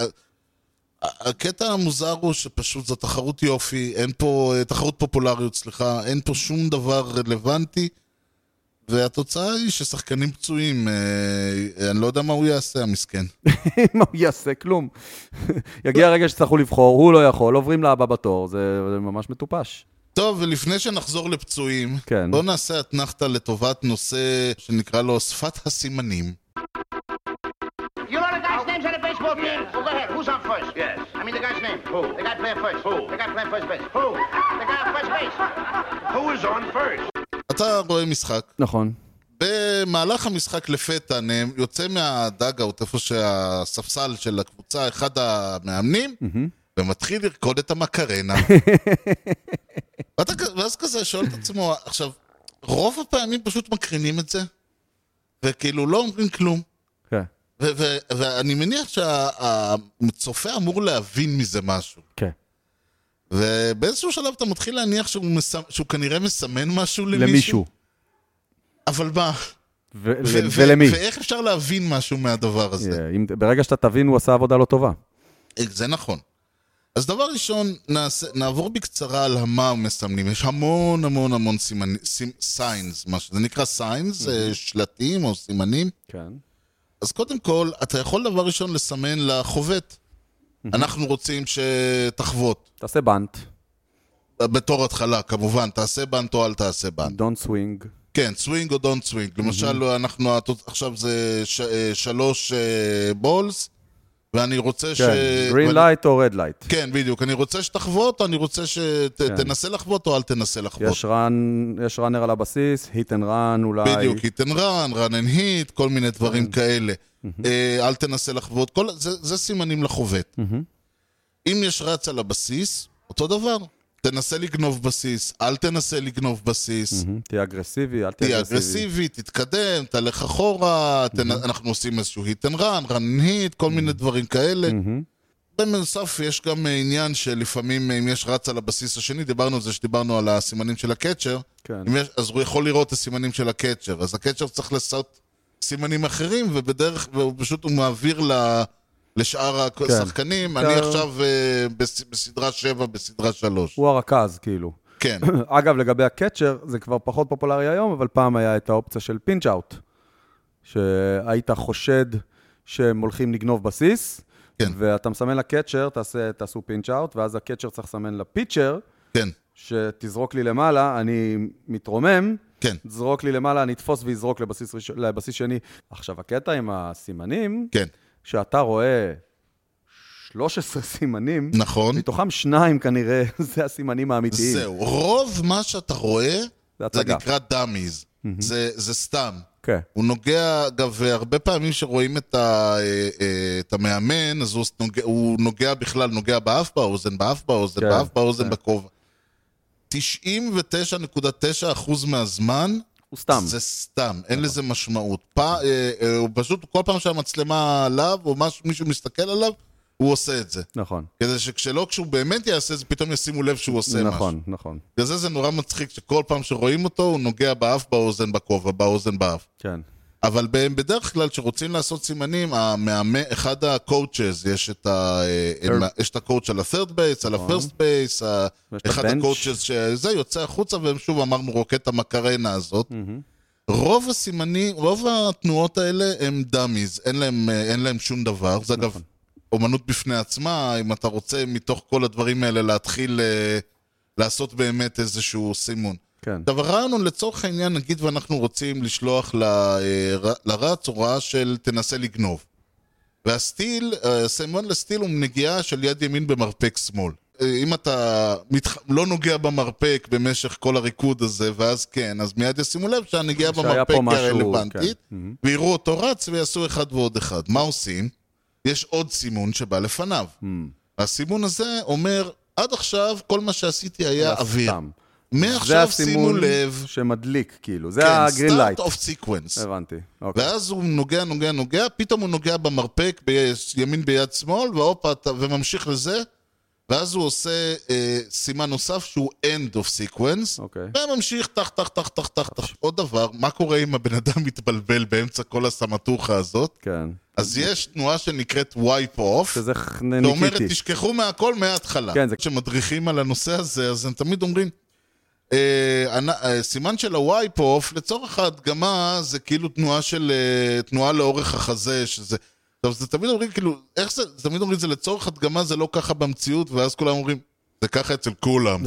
B: הקטע המוזר הוא שפשוט זו תחרות יופי, אין פה, אה, תחרות פופולריות, סליחה, אין פה שום דבר רלוונטי, והתוצאה היא ששחקנים פצועים, אה, אני לא יודע מה הוא יעשה, המסכן.
A: מה הוא יעשה? כלום. יגיע הרגע שצטרכו לבחור, הוא לא יכול, עוברים לבא בתור, זה זה ממש מטופש.
B: טוב, ולפני שנחזור לפצועים,
A: כן.
B: בואו נעשה אתנחתא לטובת נושא שנקרא לו שפת הסימנים.
E: You know the guy's names on the baseball team? Well, go ahead. Who's on first? Yes. I mean the guy's name. Who? The guy playing first. Who? The guy playing first base. Who? The guy on first base.
D: Who is on first?
B: אתה רואה משחק,
A: נכון.
B: במהלך המשחק לפתע נהם, יוצא מהדאגאוט, איפה שהספסל של הקבוצה, אחד המאמנים, ומתחיל לרקוד את המקרנה. ואתה, כ- ואז כזה שואל את עצמו, עכשיו, רוב הפעמים פשוט מקרינים את זה, וכאילו לא אומרים כלום.
A: כן.
B: ו- ו- ואני מניח שהצופה אמור להבין מזה משהו.
A: כן.
B: ובאיזשהו שלב אתה מתחיל להניח שהוא, מסמ... שהוא כנראה מסמן משהו למישהו.
A: למישהו.
B: אבל מה?
A: ו-
B: ו-
A: ל-
B: ו-
A: ולמי?
B: ואיך אפשר להבין משהו מהדבר הזה?
A: אה, אם- ברגע שאתה תבין, הוא עשה עבודה לא טובה.
B: זה נכון. אז דבר ראשון, נעשה, נעבור בקצרה על מה מסמנים. יש המון המון המון סימנים, סיינס, מה שזה נקרא סיינס, שלטים או סימנים.
A: כן.
B: אז קודם כל, אתה יכול דבר ראשון לסמן לחובט. אנחנו רוצים שתחבוט. אה,
A: תעשה בנט,
B: בתור התחלה, כמובן, תעשה בנט או אל תעשה בנט.
A: דון סווינג.
B: כן, סווינג או דונט סווינג. למשל, אנחנו, התוצ- עכשיו זה ש- אה, שלוש אה, בולס, ואני רוצה ש...
A: כן. גרין
B: ואני-
A: לייט או רד לייט.
B: כן, בדיוק. אני רוצה שתחבוט, אני רוצה שתנסה לחבוט או אל תנסה לחבוט.
A: כן. יש רן, יש ראנר על הבסיס, היט אנד רן אולי.
B: בדיוק, hit and run, run and hit, כל מיני
A: כן.
B: דברים כאלה. אה, אל תנסה לחבוט, כל- זה זה סימנים לחובט. אם יש רץ על הבסיס, אותו דבר. תנסה לגנוב בסיס, אל תנסה לגנוב בסיס.
A: מהמם. תהיה אגרסיבי, אל תהיה
B: תהיה
A: אגרסיבי.
B: אגרסיבי, תתקדם, תלך אחורה, תנ- אנחנו עושים איזשהו hit and run, run and hit, כל מיני דברים כאלה. בנוסף, יש גם אה, עניין שלפעמים אה, אם יש רץ על הבסיס השני, דיברנו על זה שדיברנו על הסימנים של הקאצ'ר,
A: כן.
B: אם יש- אז הוא יכול לראות את הסימנים של הקאצ'ר, אז הקאצ'ר צריך לעשות סימנים אחרים, ובדרך, והוא פשוט, הוא מעביר ל... לשאר
A: כן.
B: השחקנים, אני
A: אתה-
B: עכשיו אה, בס- בסדרה 7, בסדרה 3.
A: הוא הרכז, כאילו.
B: כן.
A: אגב, לגבי הקאצ'ר, זה כבר פחות פופולרי היום, אבל פעם היה את האופציה של פינצ' אאוט. שהיית חושד שהם הולכים לגנוב בסיס,
B: כן.
A: ואתה מסמן לקאצ'ר, תעשה- תעשו פינצ' אאוט, ואז הקאצ'ר צריך לסמן לפיצ'ר,
B: כן,
A: שתזרוק לי למעלה, אני מתרומם,
B: כן,
A: תזרוק לי למעלה, אני אתפוס ויזרוק לבסיס, ראש... לבסיס שני. עכשיו, הקטע עם הסימנים,
B: כן,
A: שאתה רואה 13 סימנים,
B: נכון.
A: מתוכם שניים כנראה, זה הסימנים האמיתיים.
B: זהו, רוב מה שאתה רואה,
A: זה
B: זה
A: הצגה.
B: נקרא דאמיז. זה זה סתם.
A: כן.
B: הוא נוגע, אגב, הרבה פעמים שרואים את ה- אה, אה, את המאמן, אז הוא נוגע- הוא נוגע בכלל, נוגע באף באוזן, באף באוזן,
A: כן,
B: באף באוזן,
A: כן.
B: בכובע. 99.9% מהזמן
A: הוא סתם.
B: זה סתם, אין לזה משמעות. פע- אה, אה, הוא פשוט, כל פעם שהמצלמה עליו, או משהו- מישהו מסתכל עליו, הוא עושה את זה.
A: נכון.
B: כדי שכשלא, כשהוא באמת יעשה את זה, פתאום ישימו לב שהוא עושה משהו.
A: נכון, נכון.
B: בגלל זה זה נורא מצחיק שכל פעם שרואים אותו, הוא נוגע באף, באוזן, בכובע, באוזן, באף.
A: כן.
B: אבל ב- בדרך כלל, כשרוצים לעשות סימנים, המאמן, אחד הקואוצ'ז, יש את ה... אה, אין מה- יש את הקואוצ' על ה-third base, על ה-first base, ה-
A: ויש נכון. את
B: אחד
A: ה-bench.
B: הקואוצ'ז שזה, יוצא החוצה, והם שוב אמרנו, רוקט את המקרנה הזאת. רוב הסימנים, רוב התנועות האלה הם דאמיז, אין להם, אה, אין להם שום דבר. זה
A: נכון.
B: אגב אומנות בפני עצמה, אם אתה רוצה מתוך כל הדברים האלה להתחיל אה, לעשות באמת איזשהו סימון.
A: כן.
B: עכשיו הרעיון הוא לצורך העניין, נגיד ואנחנו רוצים לשלוח ל- אה, ר- לרץ הוראה של תנסה אה, לגנוב. והסטיל, הסימון לסטיל הוא נגיעה של יד ימין במרפק שמאל. אה, אם אתה מתח... לא נוגע במרפק במשך כל הריקוד הזה, ואז כן, אז מיד ישימו לב
A: שהיה
B: שהנגיעה
A: פה
B: במרפק היא
A: משהו,
B: הרלוונטית,
A: כן. מהמם.
B: ויראו אותו רץ ויעשו אחד ועוד אחד. מה עושים? יש עוד סימון שבא לפניו.
A: Hmm.
B: הסימון הזה אומר, עד עכשיו כל מה שעשיתי היה אוויר.
A: סתם. זה
B: מעכשיו שימו
A: הסימון
B: לב,
A: שמדליק, כאילו. זה
B: כן,
A: הגרין לייט.
B: start of sequence.
A: הבנתי. אוקיי.
B: ואז הוא נוגע, נוגע, נוגע, פתאום הוא נוגע במרפק, בימין ביד שמאל, והופה, אתה- וממשיך לזה, ואז הוא עושה אה, סימן נוסף שהוא end of sequence,
A: אוקיי.
B: וממשיך טח, טח, טח, טח, טח, טח. עוד דבר, מה קורה אם הבן אדם מתבלבל באמצע כל הסמטוחה הזאת?
A: כן.
B: אז יש תנועה שנקראת wipe off.
A: שזה
B: זאת אומרת,
A: חנניקיטי.
B: תשכחו מהכל מההתחלה.
A: כן, זה-
B: כשמדריכים על הנושא הזה, אז הם תמיד אומרים, אה, אנ- אה, סימן של הוואי-פוף, לצורך ההדגמה, זה כאילו תנועה של... אה, תנועה לאורך החזה, שזה... טוב, זה תמיד אומרים, כאילו, איך זה? זה תמיד אומרים, זה לצורך הדגמה, זה לא ככה במציאות, ואז כולם אומרים, זה ככה אצל כולם.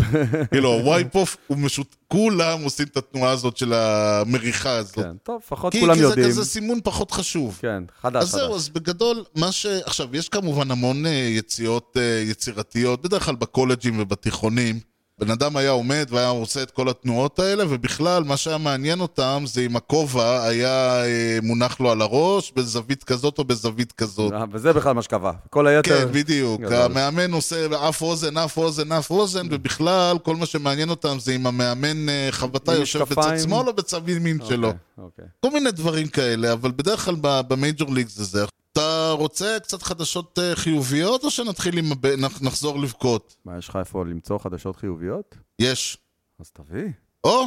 B: כאילו, הוואי-פוף הוא משות... כולם עושים את התנועה הזאת של המריחה הזאת.
A: כן, טוב, לפחות
B: כי-
A: כולם
B: כי זה
A: יודעים.
B: כזה סימון פחות חשוב.
A: כן, חדש
B: אז זהו,
A: חדש.
B: אז בגדול, מה ש... עכשיו, יש כמובן המון אה, יציאות אה, יצירתיות, בדרך כלל בקולג'ים ובתיכונים. בן אדם היה עומד והיה עושה את כל התנועות האלה, ובכלל, מה שהיה מעניין אותם זה אם הכובע היה אה, מונח לו על הראש, בזווית כזאת או בזווית כזאת.
A: אה, וזה בכלל מה שקבע. כל היתר...
B: כן, בדיוק.
A: גדול. Mm.
B: המאמן עושה אף אוזן, אף אוזן, אף אוזן, ובכלל, כל מה שמעניין אותם זה אם המאמן אה, חבטה
A: עם
B: יושב בצד
A: משקפיים.
B: שמאל או בצד ימין שלו.
A: אוקיי, אוקיי.
B: כל מיני דברים כאלה, אבל בדרך כלל ב- במייג'ור ליג זה זה. אתה רוצה קצת חדשות אה, חיוביות, או שנתחיל עם... הב- נח- נחזור לבכות?
A: מה, יש לך איפה למצוא חדשות חיוביות?
B: יש.
A: אז תביא.
B: או!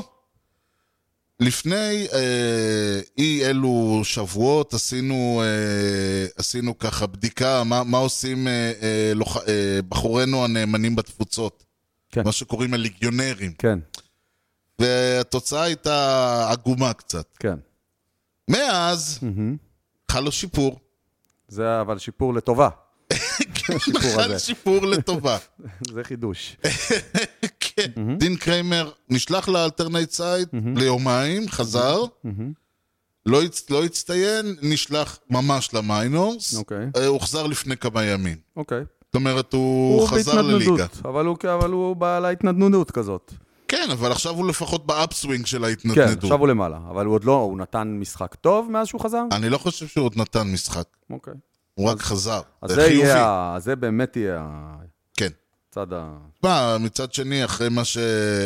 B: לפני אה, אי אלו שבועות עשינו, אה, עשינו ככה בדיקה מה, מה עושים אה, אה, לוח, אה, בחורינו הנאמנים בתפוצות.
A: כן.
B: מה שקוראים הליגיונרים.
A: כן,
B: והתוצאה הייתה עגומה קצת.
A: כן.
B: מאז
A: מהמם.
B: חל לו שיפור.
A: זה אבל שיפור לטובה. כן, השיפור
B: חל
A: הזה.
B: שיפור לטובה.
A: זה חידוש.
B: כן. דין קריימר נשלח לאלטרנייט סייד ליומיים, חזר, לא הצ- לא הצטיין, נשלח ממש למיינורס,
A: אוקיי.
B: אה, הוחזר לפני כמה ימים.
A: אוקיי.
B: זאת אומרת, הוא חזר לליגה.
A: בהתנדנדות, אבל הוא- אבל הוא בעל ההתנדנדות כזאת.
B: כן, אבל עכשיו הוא לפחות באפסווינג של
A: כן, עכשיו
B: ההתנדנדות.
A: הוא למעלה, אבל הוא עוד לא, הוא נתן משחק טוב מאז שהוא חזר?
B: אני לא חושב שהוא עוד נתן משחק,
A: אוקיי.
B: הוא רק חזר.
A: אז
B: אה, זה
A: זה יהיה,
B: חיובי.
A: ה- זה באמת יהיה הצד
B: כן.
A: ה...
B: מה, מצד שני, אחרי מה ש-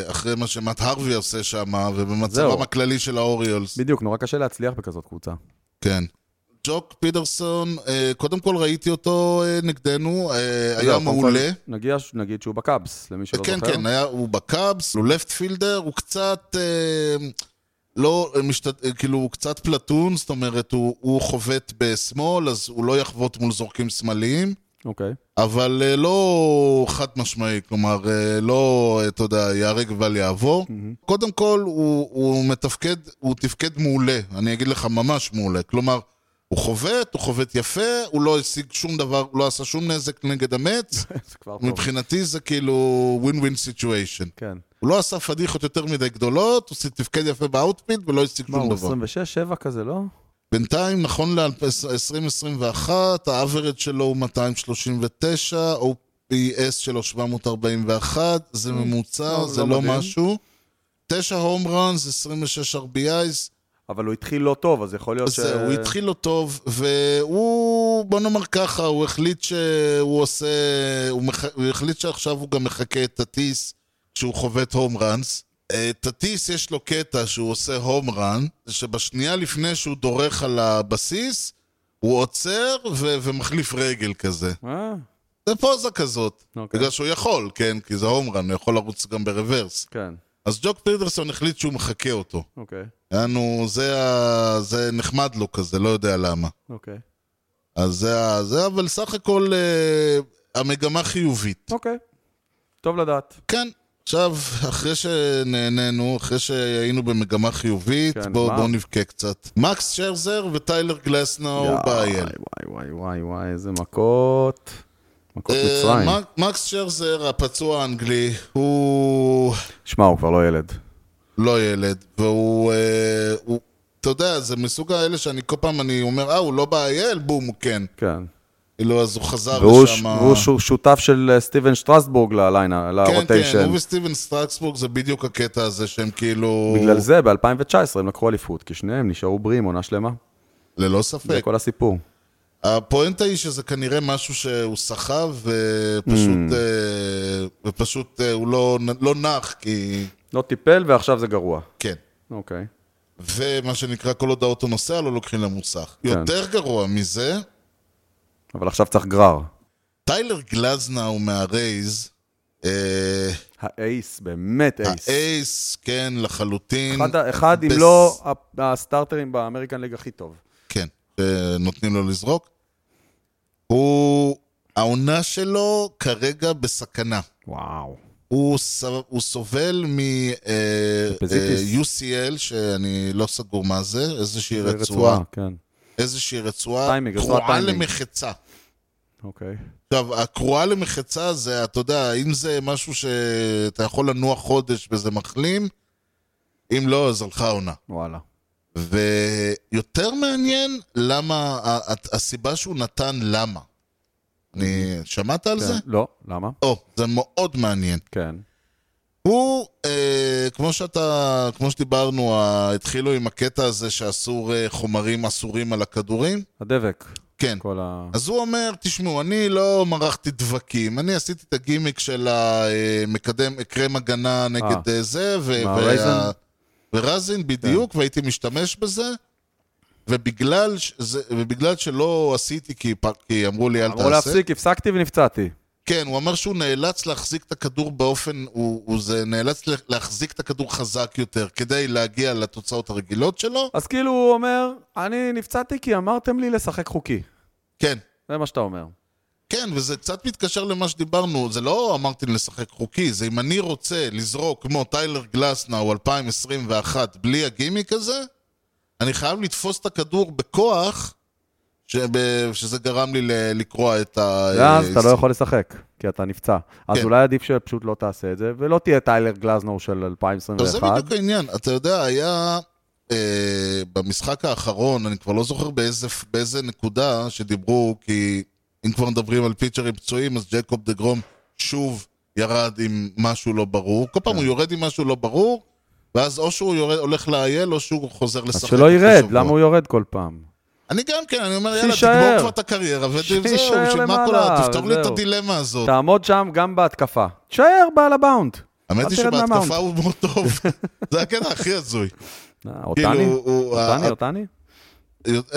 B: אחרי מה שמט הרווי עושה שם, ובמצבם
A: זהו.
B: הכללי של האוריולס.
A: בדיוק, נורא קשה להצליח בכזאת קבוצה.
B: כן. ג'וק פיטרסון, אה, קודם כל ראיתי אותו אה, נגדנו, אה, היה
A: זהו, לא, קודם כל,
B: מעולה.
A: נגיע- נגיד שהוא בקאבס, למי שלא
B: כן,
A: זוכר.
B: כן, היה- הוא בקאבס, הוא לפט פילדר, הוא קצת... אה, לא, אה, משתת... אה, כאילו, הוא קצת פלטון, זאת אומרת, הוא, הוא חובט בשמאל, אז הוא לא יחבוט מול זורקים שמאליים,
A: אוקיי.
B: אבל אה, לא חד משמעי, כלומר, אה, לא, אה, אתה יודע, ייהרג ובל יעבור. קודם כל, הוא, הוא מתפקד, הוא תפקד מעולה, אני אגיד לך ממש מעולה. כלומר, הוא חובט, הוא חובט יפה, הוא לא השיג שום דבר, הוא לא עשה שום נזק נגד המץ.
A: זה כבר טוב.
B: מבחינתי זה כאילו win win situation.
A: כן.
B: הוא לא עשה פדיחות יותר מדי גדולות, הוא תפקד יפה באאוטפיט ולא השיג
A: מה,
B: שום
A: הוא
B: דבר.
A: 26-7 כזה, לא?
B: בינתיים, נכון ל-2021, האברד שלו הוא 239, OPS שלו 741, זה ממוצע,
A: לא-
B: זה
A: לא
B: לא
A: מדהים.
B: משהו. 9 הום ראנס, 26 RBIs,
A: אבל הוא התחיל לא טוב, אז יכול להיות ש...
B: זהו, הוא התחיל לא טוב, והוא, בוא נאמר ככה, הוא החליט שהוא עושה, הוא, מח... הוא החליט שעכשיו הוא גם מחקה את טטיס כשהוא חובט הום ראנס. אה, טטיס יש לו קטע שהוא עושה הום ראן, שבשנייה לפני שהוא דורך על הבסיס, הוא עוצר ו... ומחליף רגל כזה.
A: אה,
B: זה פוזה כזאת.
A: אוקיי.
B: בגלל שהוא יכול, כן? כי זה הום ראן, הוא יכול לרוץ גם ברוורס.
A: כן,
B: אז ג'וק פירדרסון החליט שהוא מחקה אותו.
A: אוקיי,
B: יענו, זה, ה... זה נחמד לו כזה, לא יודע למה.
A: אוקיי.
B: אז זה, ה- זה אבל סך הכל אה, המגמה חיובית.
A: אוקיי. טוב לדעת.
B: כן. עכשיו, אחרי שנהנינו, אחרי שהיינו במגמה חיובית,
A: כן,
B: בואו
A: מה?
B: בוא נבכה קצת. מקס שרזר וטיילר גלסנאו באייל.
A: וואי, וואי, וואי, וואי, איזה מכות. מכות
B: אה,
A: מצרים.
B: מק- מקס שרזר, הפצוע האנגלי, הוא
A: שמע, הוא כבר לא ילד.
B: לא ילד, והוא... אה, הוא... אתה יודע, זה מסוג האלה שאני כל פעם אני אומר, אה, הוא לא באייל? בום, הוא כן.
A: כן.
B: כאילו, אז הוא חזר
A: והוא ש-
B: לשם.
A: והוא ש- שותף של אה, סטיבן שטרסבורג לליינה,
B: כן, כן,
A: לרוטיישן.
B: הוא וסטיבן סטרקסבורג זה בדיוק הקטע הזה שהם כאילו...
A: בגלל זה ב-2019 הם לקחו אליפות, כי שניהם נשארו בריאים עונה שלמה.
B: ללא
A: זה
B: ספק.
A: כל הסיפור.
B: הפואנטה היא שזה כנראה משהו שהוא סחב, ופשוט,
A: Hmm.
B: אה, ופשוט אה, הוא לא, לא נח, כי...
A: לא טיפל ועכשיו זה גרוע.
B: כן.
A: אוקיי.
B: ומה שנקרא, כל עוד האוטו נוסע, לא לוקחים למוסך.
A: כן.
B: יותר גרוע מזה,
A: אבל עכשיו צריך גרר.
B: טיילר גלזנאו מהרייז, אה,
A: האייס, באמת אייס.
B: האייס, כן, לחלוטין.
A: אחד ה- אחד, אם
B: בס-
A: לא ה- הסטארטרים באמריקן ליג הכי טוב.
B: כן, שנותנים לו לזרוק. הוא... העונה שלו כרגע בסכנה.
A: וואו.
B: הוא, ס... הוא סובל מ... אה,
A: טרפזיטיס.
B: אה, UCL, שאני לא סגור מה זה, איזושהי
A: זה
B: רצועה,
A: כן.
B: איזושהי רצועה,
A: טיימינג, רצועת
B: קרועה
A: טיימינג.
B: למחצה.
A: אוקיי.
B: עכשיו, הקרועה למחצה זה, אתה יודע, אם זה משהו שאתה יכול לנוע חודש וזה מחלים, אם לא, אז הלכה העונה.
A: וואלה.
B: ויותר מעניין למה, ה- ה- הסיבה שהוא נתן למה. אני, שמעת על
A: כן.
B: זה?
A: לא, למה?
B: או, זה מאוד מעניין.
A: כן.
B: הוא, אה, כמו שאתה, כמו שדיברנו, אה, התחילו עם הקטע הזה שאסור אה, חומרים אסורים על הכדורים.
A: הדבק.
B: כן.
A: כל ה...
B: אז הוא אומר, תשמעו, אני לא מרחתי דבקים, אני עשיתי את הגימיק של המקדם, קרם הגנה נגד אה. זה, ו-
A: מה, רזין?
B: ורזין בדיוק, כן. והייתי משתמש בזה, ובגלל, ש- זה, ובגלל שלא עשיתי, כי, פ- כי אמרו לי אל תעשה,
A: אמרו להפסיק, הפסקתי ונפצעתי.
B: כן, הוא אמר שהוא נאלץ להחזיק את הכדור באופן, הוא, הוא זה, נאלץ לה- להחזיק את הכדור חזק יותר, כדי להגיע לתוצאות הרגילות שלו,
A: אז כאילו הוא אומר, אני נפצעתי כי אמרתם לי לשחק חוקי.
B: כן.
A: זה מה שאתה אומר.
B: כן, וזה קצת מתקשר למה שדיברנו, זה לא אמרתי לשחק חוקי, זה אם אני רוצה לזרוק כמו טיילר גלסנאו 2021 בלי הגימיק הזה, אני חייב לתפוס את הכדור בכוח, שב- שזה גרם לי ל- לקרוע את ה... אה,
A: ואז אתה לא יכול לשחק, כי אתה נפצע. אז
B: כן.
A: אולי עדיף שפשוט לא תעשה את זה, ולא תהיה טיילר גלזנור של
B: אבל זה
A: 2021.
B: בדיוק העניין, אתה יודע, היה אה, במשחק האחרון, אני כבר לא זוכר באיזה, באיזה נקודה שדיברו, כי אם כבר מדברים על פיצ'רים פצועים, אז ג'קוב דה גרום שוב ירד עם משהו לא ברור. כל
A: כן.
B: פעם הוא יורד עם משהו לא ברור, ואז או שהוא יורד, הולך לאייל, או שהוא חוזר לשחק.
A: אז שלא
B: אחרי
A: ירד,
B: שבוע.
A: למה הוא יורד כל פעם?
B: אני גם כן, אני אומר, יאללה,
A: שיישאר.
B: תגמור כבר את הקריירה, וזהו,
A: שיישאר
B: בשביל מה כל
A: למעלה,
B: ה... תפתור לי את
A: וזהו.
B: הדילמה הזאת.
A: תעמוד שם גם בהתקפה. תשאר בעל הבאונד.
B: האמת
A: אל
B: היא
A: תרד מהמאונט.
B: שבהתקפה הוא מאוד טוב. זה הקטע הכי הזוי.
A: אה,
B: כאילו,
A: אותני?
B: הוא-
A: אותני,
B: ה-
A: אותני?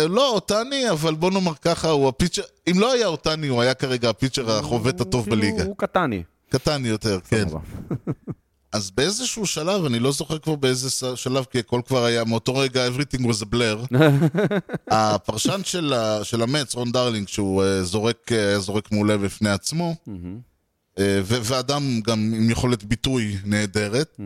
B: לא, אותני, אבל בוא נאמר ככה, הוא הפיצ'ר... אם לא היה אותני, הוא היה כרגע הפיצ'ר החובט
A: הוא
B: הטוב
A: כאילו-
B: בליגה.
A: הוא קטני.
B: קטן יותר, כן.
A: סבבה.
B: אז באיזשהו שלב, אני לא זוכר כבר באיזה ס- שלב, כי הכל כבר היה, מאותו רגע, everything was a blur. הפרשן של, ה- של המץ, רון דרלינג, שהוא אה, זורק, אה, היה זורק מעולה בפני עצמו, אה, ו- ואדם גם עם יכולת ביטוי נהדרת,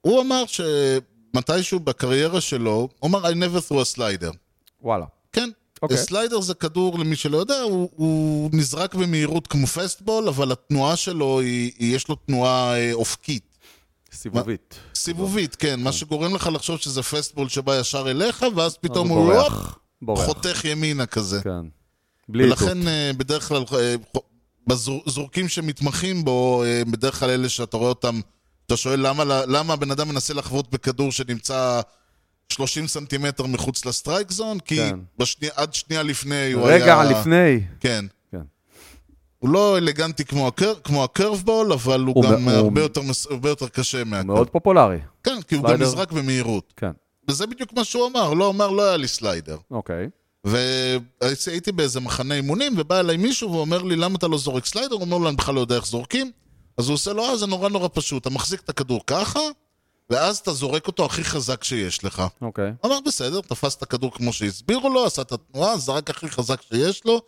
B: הוא אמר שמתישהו בקריירה שלו, הוא אמר, I never threw a slider.
A: וואלה.
B: כן.
A: אוקיי.
B: Okay. סליידר זה כדור, למי שלא יודע, הוא, הוא נזרק במהירות כמו פסטבול, אבל התנועה שלו, היא, היא- יש לו תנועה אה, אופקית.
A: סיבובית.
B: סיבובית, כן, מה שגורם לך לחשוב שזה פסטבול שבא ישר אליך, ואז פתאום
A: אז
B: הוא הופ,
A: בורח. בורח.
B: חותך ימינה כזה.
A: כן. בלי איתות.
B: ולכן אה, בדרך כלל, אה, חו- בזור- זורקים שמתמחים בו, אה, בדרך כלל אלה שאתה רואה אותם, אתה שואל למה ל- למה הבן אדם מנסה לחבוט בכדור שנמצא 30 סנטימטר מחוץ לסטרייק זון, כי
A: כן.
B: בשני- עד שנייה לפני הוא היה...
A: רגע לפני.
B: כן.
A: כן.
B: הוא לא אלגנטי כמו, הקר... כמו הקרבבול, אבל הוא,
A: הוא
B: גם
A: מא-
B: הוא...
A: הוא-
B: הרבה, יותר מס... הרבה יותר קשה מהקרב.
A: מאוד פופולרי.
B: כן, כי הוא
A: סליידר.
B: גם נזרק במהירות.
A: כן.
B: וזה בדיוק מה שהוא אמר, לא אמר, לא היה לי סליידר.
A: אוקיי.
B: והייתי באיזה מחנה אימונים, ובא אליי מישהו ואומר לי, למה אתה לא זורק סליידר? הוא אומר לו, אני בכלל לא יודע איך זורקים. אז הוא עושה לו, אה, זה נורא נורא פשוט, אתה מחזיק את הכדור ככה, ואז אתה זורק אותו הכי חזק שיש לך.
A: אוקיי.
B: הוא אמר, בסדר, תפס את הכדור כמו שהסבירו לו, עשה את התנועה, זרק הכי חזק שיש לו.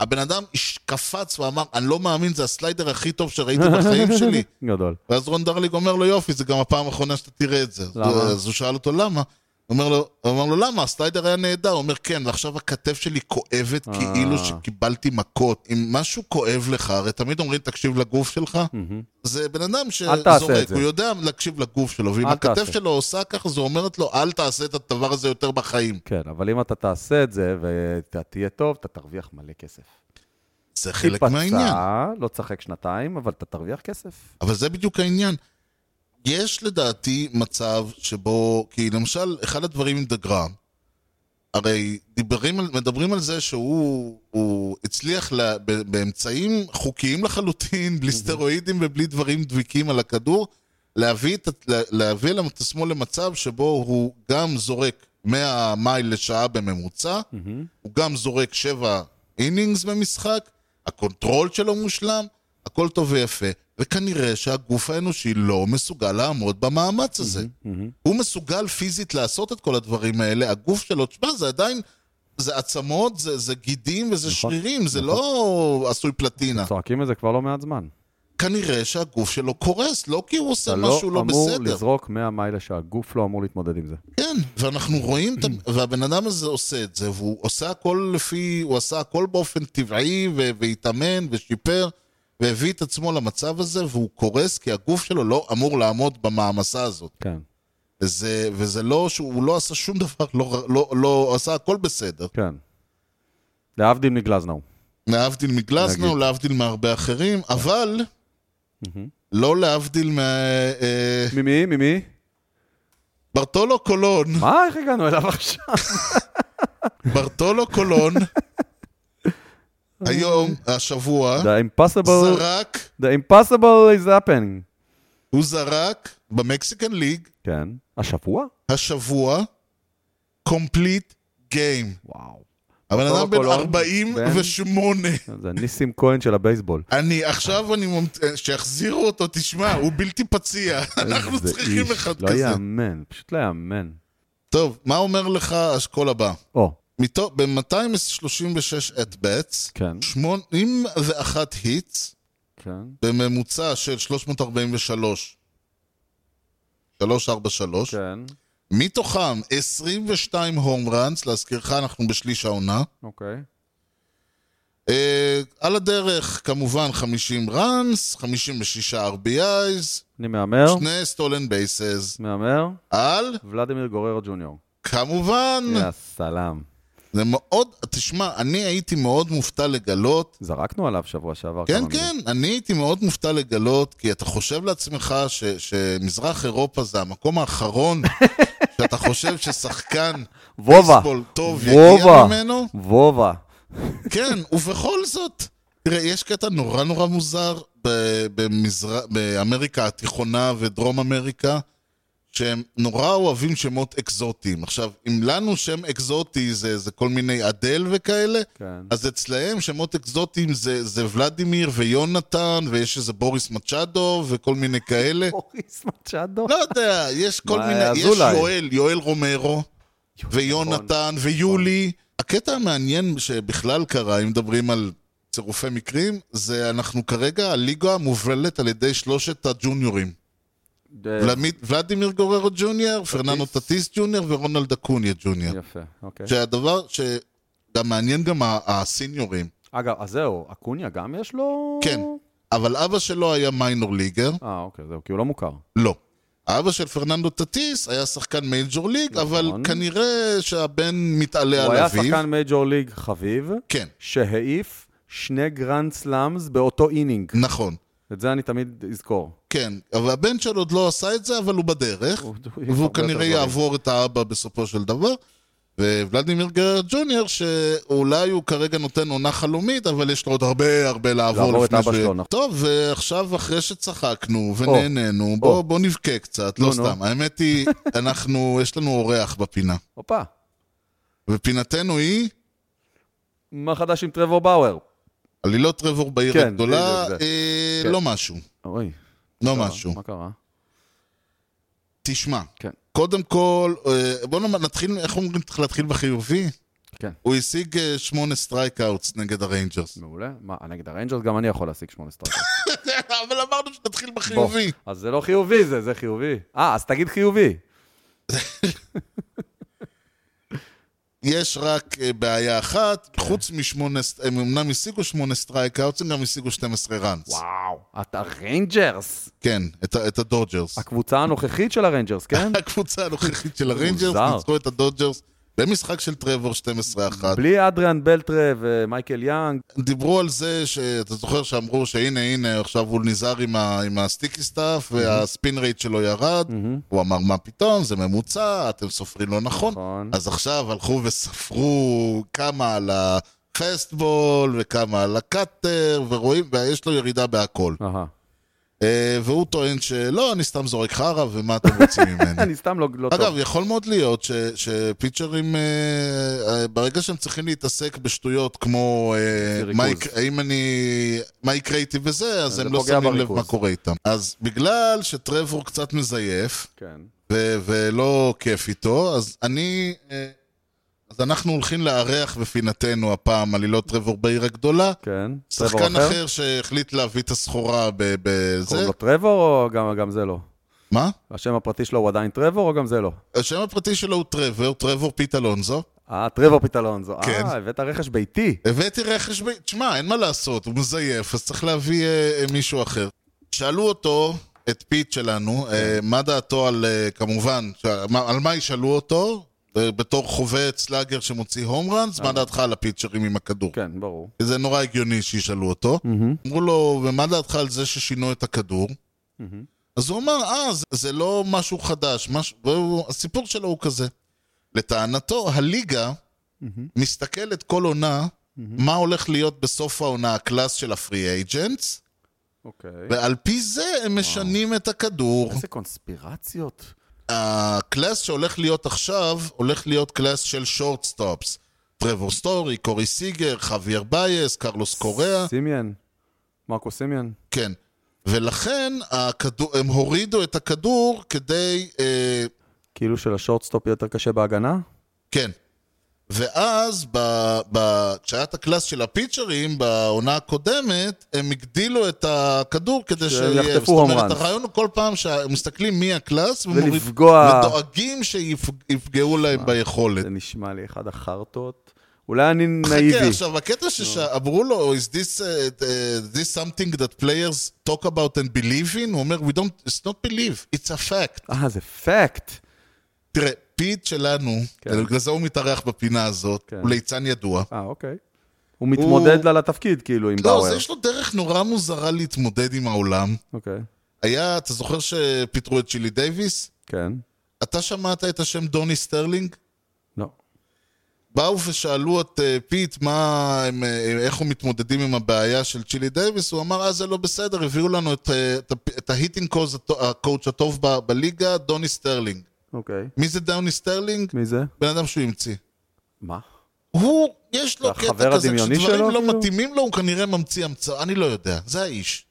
B: הבן אדם איש- קפץ ואמר, אני לא מאמין, זה הסליידר הכי טוב שראיתי בחיים שלי.
A: גדול.
B: ואז רון דרליג אומר לו, יופי, זה גם הפעם האחרונה שאתה תראה את זה. אז
A: למה?
B: הוא- אז הוא שאל אותו, למה? הוא אומר לו, הוא אמר לו, למה? הסליידר היה נהדר. הוא אומר, כן, ועכשיו הכתף שלי כואבת כאילו שקיבלתי מכות. אם משהו כואב לך, הרי תמיד אומרים, תקשיב לגוף שלך. זה בן אדם
A: אל תעשה את
B: שזורק,
A: זה.
B: הוא יודע להקשיב לגוף שלו, ואם
A: אל
B: הכתף
A: תעשה.
B: שלו עושה ככה, זה אומרת לו, אל תעשה את הדבר הזה יותר בחיים.
A: כן, אבל אם אתה תעשה את זה ואתה תהיה טוב, אתה תרוויח מלא כסף.
B: זה חלק מהעניין.
A: תיפצע, לא תשחק שנתיים, אבל אתה תרוויח כסף.
B: אבל זה בדיוק העניין. יש לדעתי מצב שבו, כי למשל, אחד הדברים עם דגרם, הרי דיברים, על- מדברים על זה שהוא הוא הצליח לה, ב, באמצעים חוקיים לחלוטין, בלי סטרואידים ובלי דברים דביקים על הכדור, להביא את, ה- לה- להביא למ- את עצמו למצב שבו הוא גם זורק 100 מייל לשעה בממוצע, הוא גם זורק 7 אינינגס במשחק, הקונטרול שלו מושלם, הכל טוב ויפה, וכנראה שהגוף האנושי לא מסוגל לעמוד במאמץ הזה. הוא מסוגל פיזית לעשות את כל הדברים האלה, הגוף שלו, תשמע, זה עדיין, זה עצמות, זה, זה גידים וזה
A: נכון,
B: שרירים, זה לא עשוי פלטינה.
A: צועקים את זה כבר לא מעט זמן.
B: כנראה שהגוף שלו קורס, לא כי הוא עושה
A: אתה
B: משהו
A: לא
B: לא
A: אמור
B: בסדר.
A: לזרוק 100 מייל לשעה, הגוף לא אמור להתמודד עם זה.
B: כן, ואנחנו רואים, את ה- והבן אדם הזה עושה את זה, והוא עושה הכל לפי, הוא עשה הכל באופן טבעי, ו- והתאמן, ושיפר, והביא את עצמו למצב הזה, והוא קורס, כי הגוף שלו לא אמור לעמוד במעמסה הזאת.
A: כן,
B: זה, וזה לא שהוא לא עשה שום דבר, לא, לא, לא עשה הכל בסדר.
A: כן. להבדיל מגלזנאו.
B: להבדיל מגלזנו,
A: נגיד. כן.
B: להבדיל מהרבה אחרים, אבל לא להבדיל מ... אה,
A: ממי? ממי?
B: ברטולו קולון,
A: מה? איך הגענו אליו עכשיו?
B: ברטולו קולון, היום, השבוע,
A: The impossible,
B: זרק,
A: the impossible is happening.
B: הוא זרק במקסיקן ליג,
A: כן. השבוע?
B: השבוע, קומפליט גיים.
A: וואו.
B: הבן
A: ברטולו
B: אדם בן
A: קולון, כן.
B: 48.
A: זה ניסים כהן של הבייסבול.
B: אני עכשיו, אני מומת... שיחזירו אותו, תשמע, הוא בלתי פציע. אנחנו
A: איזה
B: צריכים
A: אה, איש,
B: אחד
A: לא
B: כזה.
A: יאמן, פשוט לא יאמן.
B: טוב, מה אומר לך האשכול הבא?
A: או,
B: מתו- ב-236 at bats,
A: כן.
B: 81 היטס,
A: כן.
B: בממוצע של 343, 343,
A: כן,
B: מתוכם 22 הום ראנס, להזכירך, אנחנו בשליש העונה.
A: אוקיי.
B: אה, על הדרך, כמובן, 50 ראנס, 56 RBIs,
A: אני מהמר,
B: שני סטולן בייסס.
A: מהמר,
B: על,
A: ולדימיר גוררו ג'וניור.
B: כמובן,
A: יא סלאם.
B: זה מאוד, תשמע, אני הייתי מאוד מופתע לגלות,
A: זרקנו עליו שבוע שעבר.
B: כן,
A: כמה מילים.
B: כן, אני הייתי מאוד מופתע לגלות, כי אתה חושב לעצמך ש, שמזרח אירופה זה המקום האחרון שאתה חושב ששחקן
A: וובה.
B: בייסבול טוב יגיע
A: וובה.
B: ממנו.
A: וובה.
B: כן, ובכל זאת, תראה, יש קטע נורא נורא מוזר ב- במזר... באמריקה התיכונה ודרום אמריקה, שהם נורא אוהבים שמות אקזוטיים. עכשיו, אם לנו שם אקזוטי זה, זה כל מיני אדל וכאלה,
A: כן.
B: אז אצלהם שמות אקזוטיים זה, זה ולדימיר ויונתן, ויש איזה בוריס מצ'אדו וכל מיני כאלה.
A: בוריס מצ'אדו.
B: לא יודע, יש כל
A: מה,
B: מיני, יש
A: אזולאי.
B: יואל, יואל רומרו,
A: נכון.
B: ויונתן, ויולי. הקטע המעניין שבכלל קרה, אם מדברים על צירופי מקרים, זה אנחנו כרגע, הליגה מובלת על ידי שלושת הג'וניורים.
A: אה, אוקיי.
B: ולמי- ולדימיר גוררו ג'וניור, פרננו טטיס ג'וניור ורונלד אקוניה ג'וניור.
A: יפה, אוקיי.
B: שהדבר שגם מעניין גם ה- הסיניורים.
A: אגב, אז זהו, אקוניה גם יש לו...
B: כן, אבל אבא שלו היה מיינור ליגר.
A: אה, אוקיי, זהו, כי הוא לא מוכר.
B: לא. האבא של פרננדו טטיס היה שחקן מייג'ור ליג,
A: נכון.
B: אבל כנראה שהבן מתעלה
A: הוא
B: על
A: היה
B: אביו.
A: שחקן מייג'ור ליג חביב,
B: כן,
A: שהעיף שני גרנד סלאמס באותו אינינג.
B: נכון.
A: את זה אני תמיד אזכור.
B: כן, אבל הבן שלו עוד לא עשה את זה, אבל הוא בדרך,
A: הוא- הוא יעיף
B: והוא
A: הרבה יותר
B: כנראה
A: דברים.
B: יעבור את האבא בסופו של דבר. וולדימיר גרר ג'וניור, שאולי הוא כרגע נותן עונה חלומית, אבל יש לו עוד הרבה הרבה
A: לעבור
B: לעבור
A: את
B: לפני
A: אבא שלו,
B: שהוא...
A: נכון.
B: טוב, ועכשיו אחרי שצחקנו ונהנינו,
A: או.
B: בוא בוא נבכה קצת,
A: נו,
B: לא
A: נו.
B: סתם. האמת היא, אנחנו, יש לנו אורח בפינה.
A: הופה,
B: ופינתנו היא...
A: מה חדש עם טרוור באואר?
B: עלילות טרוור בעיר
A: כן,
B: הגדולה,
A: בדיוק זה.
B: אה,
A: כן.
B: לא משהו,
A: אוי,
B: לא
A: קרה,
B: משהו.
A: מה קרה?
B: תשמע,
A: כן.
B: קודם כל, אה, בוא נאמר, נתחיל, איך אומרים, צריך להתחיל בחיובי?
A: כן.
B: הוא השיג אה, שמונה סטרייקאוטס נגד הריינג'רס.
A: מעולה. מה, נגד הריינג'רס גם אני יכול להשיג שמונה סטארטים.
B: אבל אמרנו שנתחיל בחיובי.
A: אז זה לא חיובי זה, זה חיובי. אה, אז תגיד חיובי.
B: יש רק אה, בעיה
A: כן.
B: אחת, חוץ משמונה, ס- הם אמנם השיגו שמונה סטרייקאוטס, הם גם השיגו 12 ראנס.
A: וואו, אתה ריינג'רס.
B: כן, את ה- את הדודג'רס.
A: הקבוצה הנוכחית של הריינג'רס, כן?
B: הקבוצה הנוכחית של הריינג'רס,
A: מוזר.
B: ניצחו את הדודג'רס במשחק של טרוור 12-1,
A: בלי אדריאן בלטרה ומייקל יאנג,
B: דיברו על זה, שאתה זוכר שאמרו שהנה, הנה, עכשיו הוא נזהר עם, ה... עם הסטיקי סטאפ, והספין רייט שלו ירד. הוא אמר, מה פתאום, זה ממוצע, אתם סופרים לא נכון.
A: נכון.
B: אז עכשיו הלכו וספרו כמה על הפסטבול, וכמה על הקאטר, ורואים, ויש לו ירידה בהכל.
A: אהה.
B: אה, והוא טוען שלא, אני סתם זורק חרא, ומה אתם רוצים ממני?
A: אני סתם לא לא טוב.
B: כן. אגב, יכול מאוד להיות ש, שפיצ'רים, אה, אה, ברגע שהם צריכים להתעסק בשטויות כמו אה,
A: ריכוז.
B: מה, יק- האם אני, מה יקרה איתי וזה, אז
A: זה
B: הם לא
A: פוגע
B: שמים לב
A: בריכוז.
B: מה קורה איתם. אז בגלל שטרוור קצת מזייף,
A: כן.
B: ו- ולא כיף איתו, אז אני... אה, אז אנחנו הולכים לארח בפינתנו הפעם עלילות טרוור בעיר הגדולה.
A: כן. טרוור
B: שחקן אחר שהחליט להביא את הסחורה ב- בזה.
A: קוראים לו טרוור או גם- גם זה לא?
B: מה?
A: השם הפרטי שלו הוא עדיין טרוור או גם זה לא?
B: השם הפרטי שלו הוא טרוור, טרוור פיט אלונזו.
A: אה, טרוור פיטלונזו.
B: כן.
A: אה, הבאת רכש ביתי.
B: הבאתי רכש ב... תשמע, אין מה לעשות, הוא מזייף, אז צריך להביא אה, אה, מישהו אחר. שאלו אותו, את פיט שלנו, אה, מה דעתו על, אה, כמובן, ש- מה- על מה ישאלו אותו? אה, בתור חובט סלאגר שמוציא הום ראנס, מה דעתך על הפיצ'רים עם הכדור?
A: כן, ברור.
B: כי זה נורא הגיוני שישאלו אותו. אמרו לו, ומה דעתך על זה ששינו את הכדור? אז הוא אמר, אה, זה, זה לא משהו חדש, מש... והוא, הסיפור שלו הוא כזה. לטענתו, הליגה מסתכלת כל עונה מה הולך להיות בסוף העונה הקלאס של הפרי אייג'נטס,
A: אוקיי.
B: ועל פי זה הם משנים את הכדור.
A: איזה קונספירציות.
B: הקלאס שהולך להיות עכשיו, הולך להיות קלאס של שורטסטופס. טרוור סטורי, קורי סיגר, חוויאר בייס, קרלוס קוריאה.
A: סימיאן. מרקו סימיאן.
B: כן. ולכן הכדור, הם הורידו את הכדור כדי... אה,
A: כאילו שלשורטסטופ יהיה יותר קשה בהגנה?
B: כן. ואז, ב, ב, כשהיה את הקלאס של הפיצ'רים בעונה הקודמת, הם הגדילו את הכדור כדי
A: שהם
B: שיהיה...
A: יחטפו
B: זאת
A: home
B: אומרת,
A: runs.
B: הרעיון הוא כל פעם שמסתכלים מי הקלאס ומוריד-
A: ולפגוע- אה,
B: ודואגים שיפגעו להם ביכולת.
A: זה נשמע לי אחד החרטות. אולי אני
B: חכה,
A: נאיבי. אה.
B: עכשיו, הקטע שאמרו לו, is this, uh, uh, this something that players talk about and believe in? הוא אומר, we don't, it's not believe, it's a fact.
A: אה, זה פקט.
B: תראה, פיט שלנו,
A: כן.
B: בגלל זה הוא מתארח בפינה הזאת,
A: כן.
B: הוא ליצן ידוע.
A: אה, אוקיי. הוא מתמודד לה לתפקיד, כאילו, עם
B: לא,
A: באואר.
B: זה יש לו דרך נורא מוזרה להתמודד עם העולם.
A: אוקיי.
B: היה, אתה זוכר שפיטרו את צ'ילי דייוויס?
A: כן.
B: אתה שמעת את השם דוני סטרלינג?
A: לא.
B: באו ושאלו את אה, פיט מה, הם, אה, איך הוא מתמודדים עם הבעיה של צ'ילי דייוויס, הוא אמר, אה, זה לא בסדר, הביאו לנו את, אה, את, הפ- את ההיטינג קוז, הטו- הקואוצ' הטוב ב, בליגה, דוני סטרלינג.
A: אוקיי.
B: מי זה דוני סטרלינג?
A: מי זה?
B: בן אדם שהוא המציא.
A: מה?
B: הוא, יש לו
A: החבר
B: קטע כזה,
A: הדמיוני
B: כשדברים
A: שלו,
B: לא
A: כאילו?
B: מתאימים לו, הוא כנראה ממציא המצאה, אני לא יודע, זה האיש.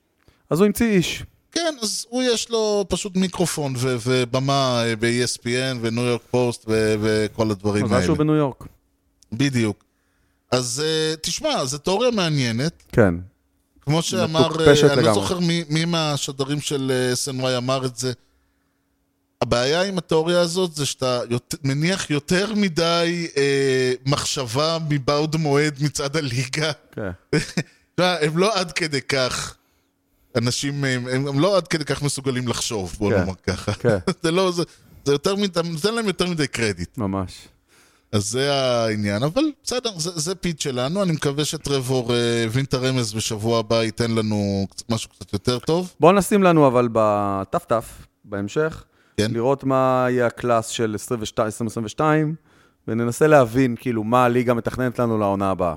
A: אז הוא המציא איש.
B: כן, אז הוא יש לו פשוט מיקרופון ו- ובמה אה, ב-ESPN וניו יורק פוסט ו- וכל הדברים
A: מזל
B: האלה.
A: שהוא בניו יורק.
B: בדיוק. אז אה, תשמע, זו תיאוריה מעניינת.
A: כן.
B: כמו שאמר, אה,
A: מטופשת
B: אני לא
A: לגמרי.
B: זוכר מי, מי מהשדרים של אה, SNY אמר את זה. הבעיה עם התיאוריה הזאת זה שאתה יות- מניח יותר מדי אה, מחשבה מבעוד מועד מצד הליגה.
A: כן.
B: תשמע, הם לא עד כדי כך אנשים, הם, הם, הם לא עד כדי כך מסוגלים לחשוב, בוא
A: כן.
B: נאמר ככה.
A: כן.
B: זה לא, זה, זה יותר מדי, נותן להם יותר מדי קרדיט.
A: ממש.
B: אז זה העניין, אבל בסדר, זה, זה פיט שלנו, אני מקווה שטרוור אה, הבין את הרמז בשבוע הבא, ייתן לנו קצ- משהו קצת יותר טוב.
A: בואו נשים לנו אבל בטפטף, בהמשך,
B: כן.
A: לראות מה יהיה הקלאס של 22 2022, וננסה להבין כאילו מה הליגה מתכננת לנו לעונה הבאה.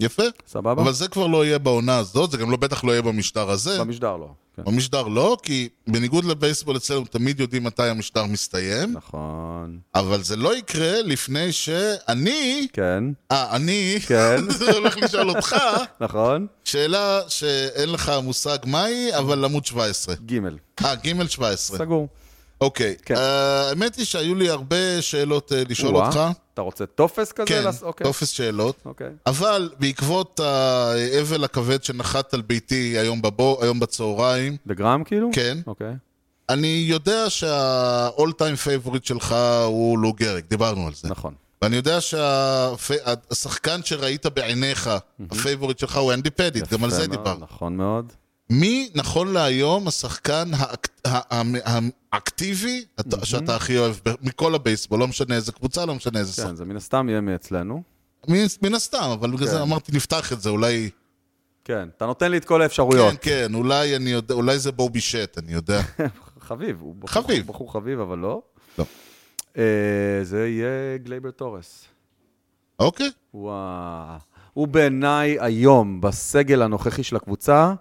B: יפה.
A: סבבה?
B: אבל זה כבר לא יהיה בעונה הזאת, זה גם לא בטח לא יהיה במשטר הזה.
A: במשדר לא. כן.
B: במשדר לא, כי בניגוד לבייסבול אצלנו תמיד יודעים מתי המשטר מסתיים,
A: נכון.
B: אבל זה לא יקרה לפני שאני
A: כן,
B: אה, אני?
A: כן.
B: זה הולך לשאול אותך
A: נכון.
B: שאלה שאין לך מושג מהי, אבל עמוד 17.
A: ג'
B: אה, ג' 17.
A: סגור.
B: אוקיי.
A: כן.
B: אה, האמת היא שהיו לי הרבה שאלות אה, לשאול
A: וואה,
B: אותך.
A: אתה רוצה טופס כזה?
B: כן,
A: לעשות- אוקיי.
B: טופס שאלות.
A: אוקיי.
B: אבל בעקבות האבל הכבד שנחת על ביתי היום בבו- היום בצהריים,
A: בגרם כאילו?
B: כן.
A: אוקיי.
B: אני יודע שה-all time favorite שלך הוא לו גריג, דיברנו על זה.
A: נכון.
B: ואני יודע שהשחקן שראית בעיניך, הפייבוריט שלך הוא אנדי פדיט, גם על זה
A: יפה מאוד,
B: דיברנו.
A: נכון מאוד.
B: מי נכון להיום השחקן האק- ה- ה- האקטיבי אתה- שאתה הכי אוהב ב- מכל הבייסבול, לא משנה איזה קבוצה, לא משנה איזה שחק.
A: כן, זה מן הסתם יהיה מאצלנו.
B: מן- מן הסתם, אבל בגלל זה אמרתי נפתח את זה, אולי...
A: כן, אתה נותן לי את כל
B: כן,
A: האפשרויות.
B: כן, אולי אני יודע, אולי זה בובי שט, אני יודע.
A: חביב, הוא בחור
B: כן. חביב.
A: בחור חביב, אבל לא.
B: לא.
A: אה, זה יהיה גלייבר תורס.
B: אוקיי,
A: וואו. הוא בעיניי היום, בסגל הנוכחי של הקבוצה,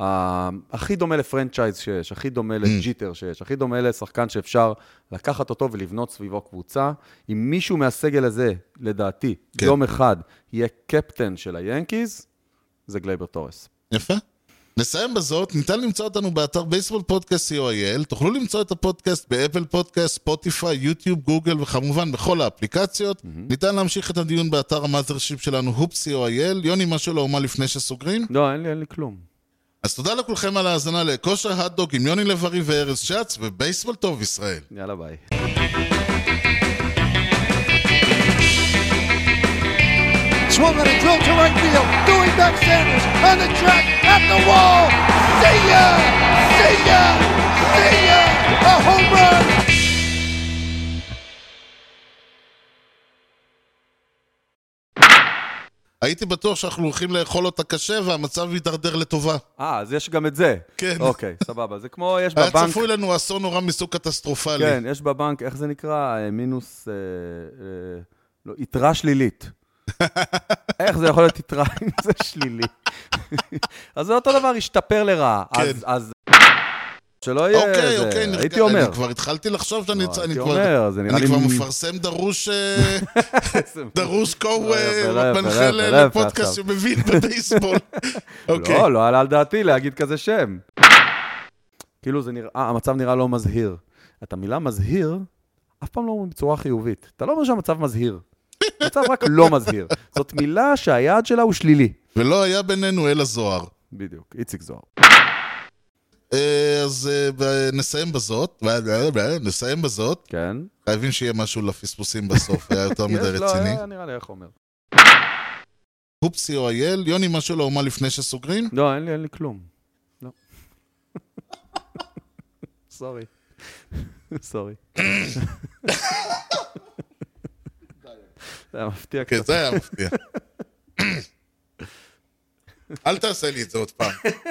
A: ה- הכי דומה לפרנצ'ייז שיש, הכי
B: Mm.
A: דומה לג'יטר שיש, הכי דומה לשחקן שאפשר לקחת אותו ולבנות סביבו קבוצה. אם מישהו מהסגל הזה, לדעתי,
B: כן.
A: יום אחד יהיה קפטן של היאנקיז, זה גלייבר תורס.
B: יפה. נסיים בזאת, ניתן למצוא אותנו באתר בייסבול פודקאסט co.il, תוכלו למצוא את הפודקאסט באפל פודקאסט, ספוטיפיי, יוטיוב, גוגל וכמובן בכל האפליקציות. ניתן להמשיך את הדיון באתר המאזרשיפ שלנו, הופ co.il. יוני, משהו לאומה לפני שסוגרים?
A: לא, אין לי, אין לי כלום.
B: אז תודה לכולכם על ההאזנה לכושר הדדוג עם יוני לב-ארי וארז שץ, ובייסבול טוב ישראל.
A: יאללה, ביי.
F: Swung on a drill to right field. Doing back Sanders on the track at the wall. See ya! See ya! See ya! A home run!
B: הייתי בטוח שאנחנו הולכים לאכול אותה קשה והמצב יידרדר לטובה.
A: אה, אז יש גם את זה.
B: כן.
A: אוקיי, סבבה. זה כמו, יש
B: היה
A: בבנק...
B: צפוי לנו אסון נורא מסוג קטסטרופלי.
A: כן, יש בבנק, איך זה נקרא? אה, מינוס... אה, אה, לא, יתרה שלילית. איך זה יכול להיות יתרה אם זה שלילי? אז זה אותו דבר, השתפר לרעה. אז, אז... שלא יהיה...
B: כן. אוקיי,
A: אה, זה,
B: אוקיי, נרגע.
A: הייתי אומר.
B: אני כבר התחלתי לחשוב שאני
A: לא,
B: צ-
A: הייתי
B: אני
A: אומר,
B: כבר...
A: זה נראה
B: אני
A: לי
B: כבר
A: מ-
B: מפרסם דרוש... אה, דרוש קו
A: לא יפה, לא יפה, לא
B: מנחה
A: יפה, לא יפה
B: לפודקאסט
A: עכשיו.
B: שמבין בבייסבול. אוקיי.
A: לא, לא עלה על דעתי להגיד כזה שם. כאילו זה נראה, המצב נראה לא מזהיר. את המילה מזהיר, אף פעם לא אומרים בצורה חיובית. אתה לא אומר שהמצב מזהיר. המצב רק לא מזהיר. זאת מילה שהיעד שלה הוא שלילי.
B: ולא היה בינינו אלא זוהר.
A: בדיוק, איציק זוהר.
B: אה, אז אה, ב- נסיים בזאת, נסיים בזאת,
A: כן?
B: חייבים שיהיה משהו לפספוסים בסוף, היה יותר מדי
A: יש, לא,
B: רציני.
A: אה, נראה לי איך אומר.
B: הופסי או אייל, יוני משהו לאומה לפני שסוגרים?
A: לא, אין לי, אין לי כלום. לא. סורי. סורי. זה היה מפתיע
B: כן,
A: קצת.
B: זה היה מפתיע. אל תעשה לי את זה עוד פעם.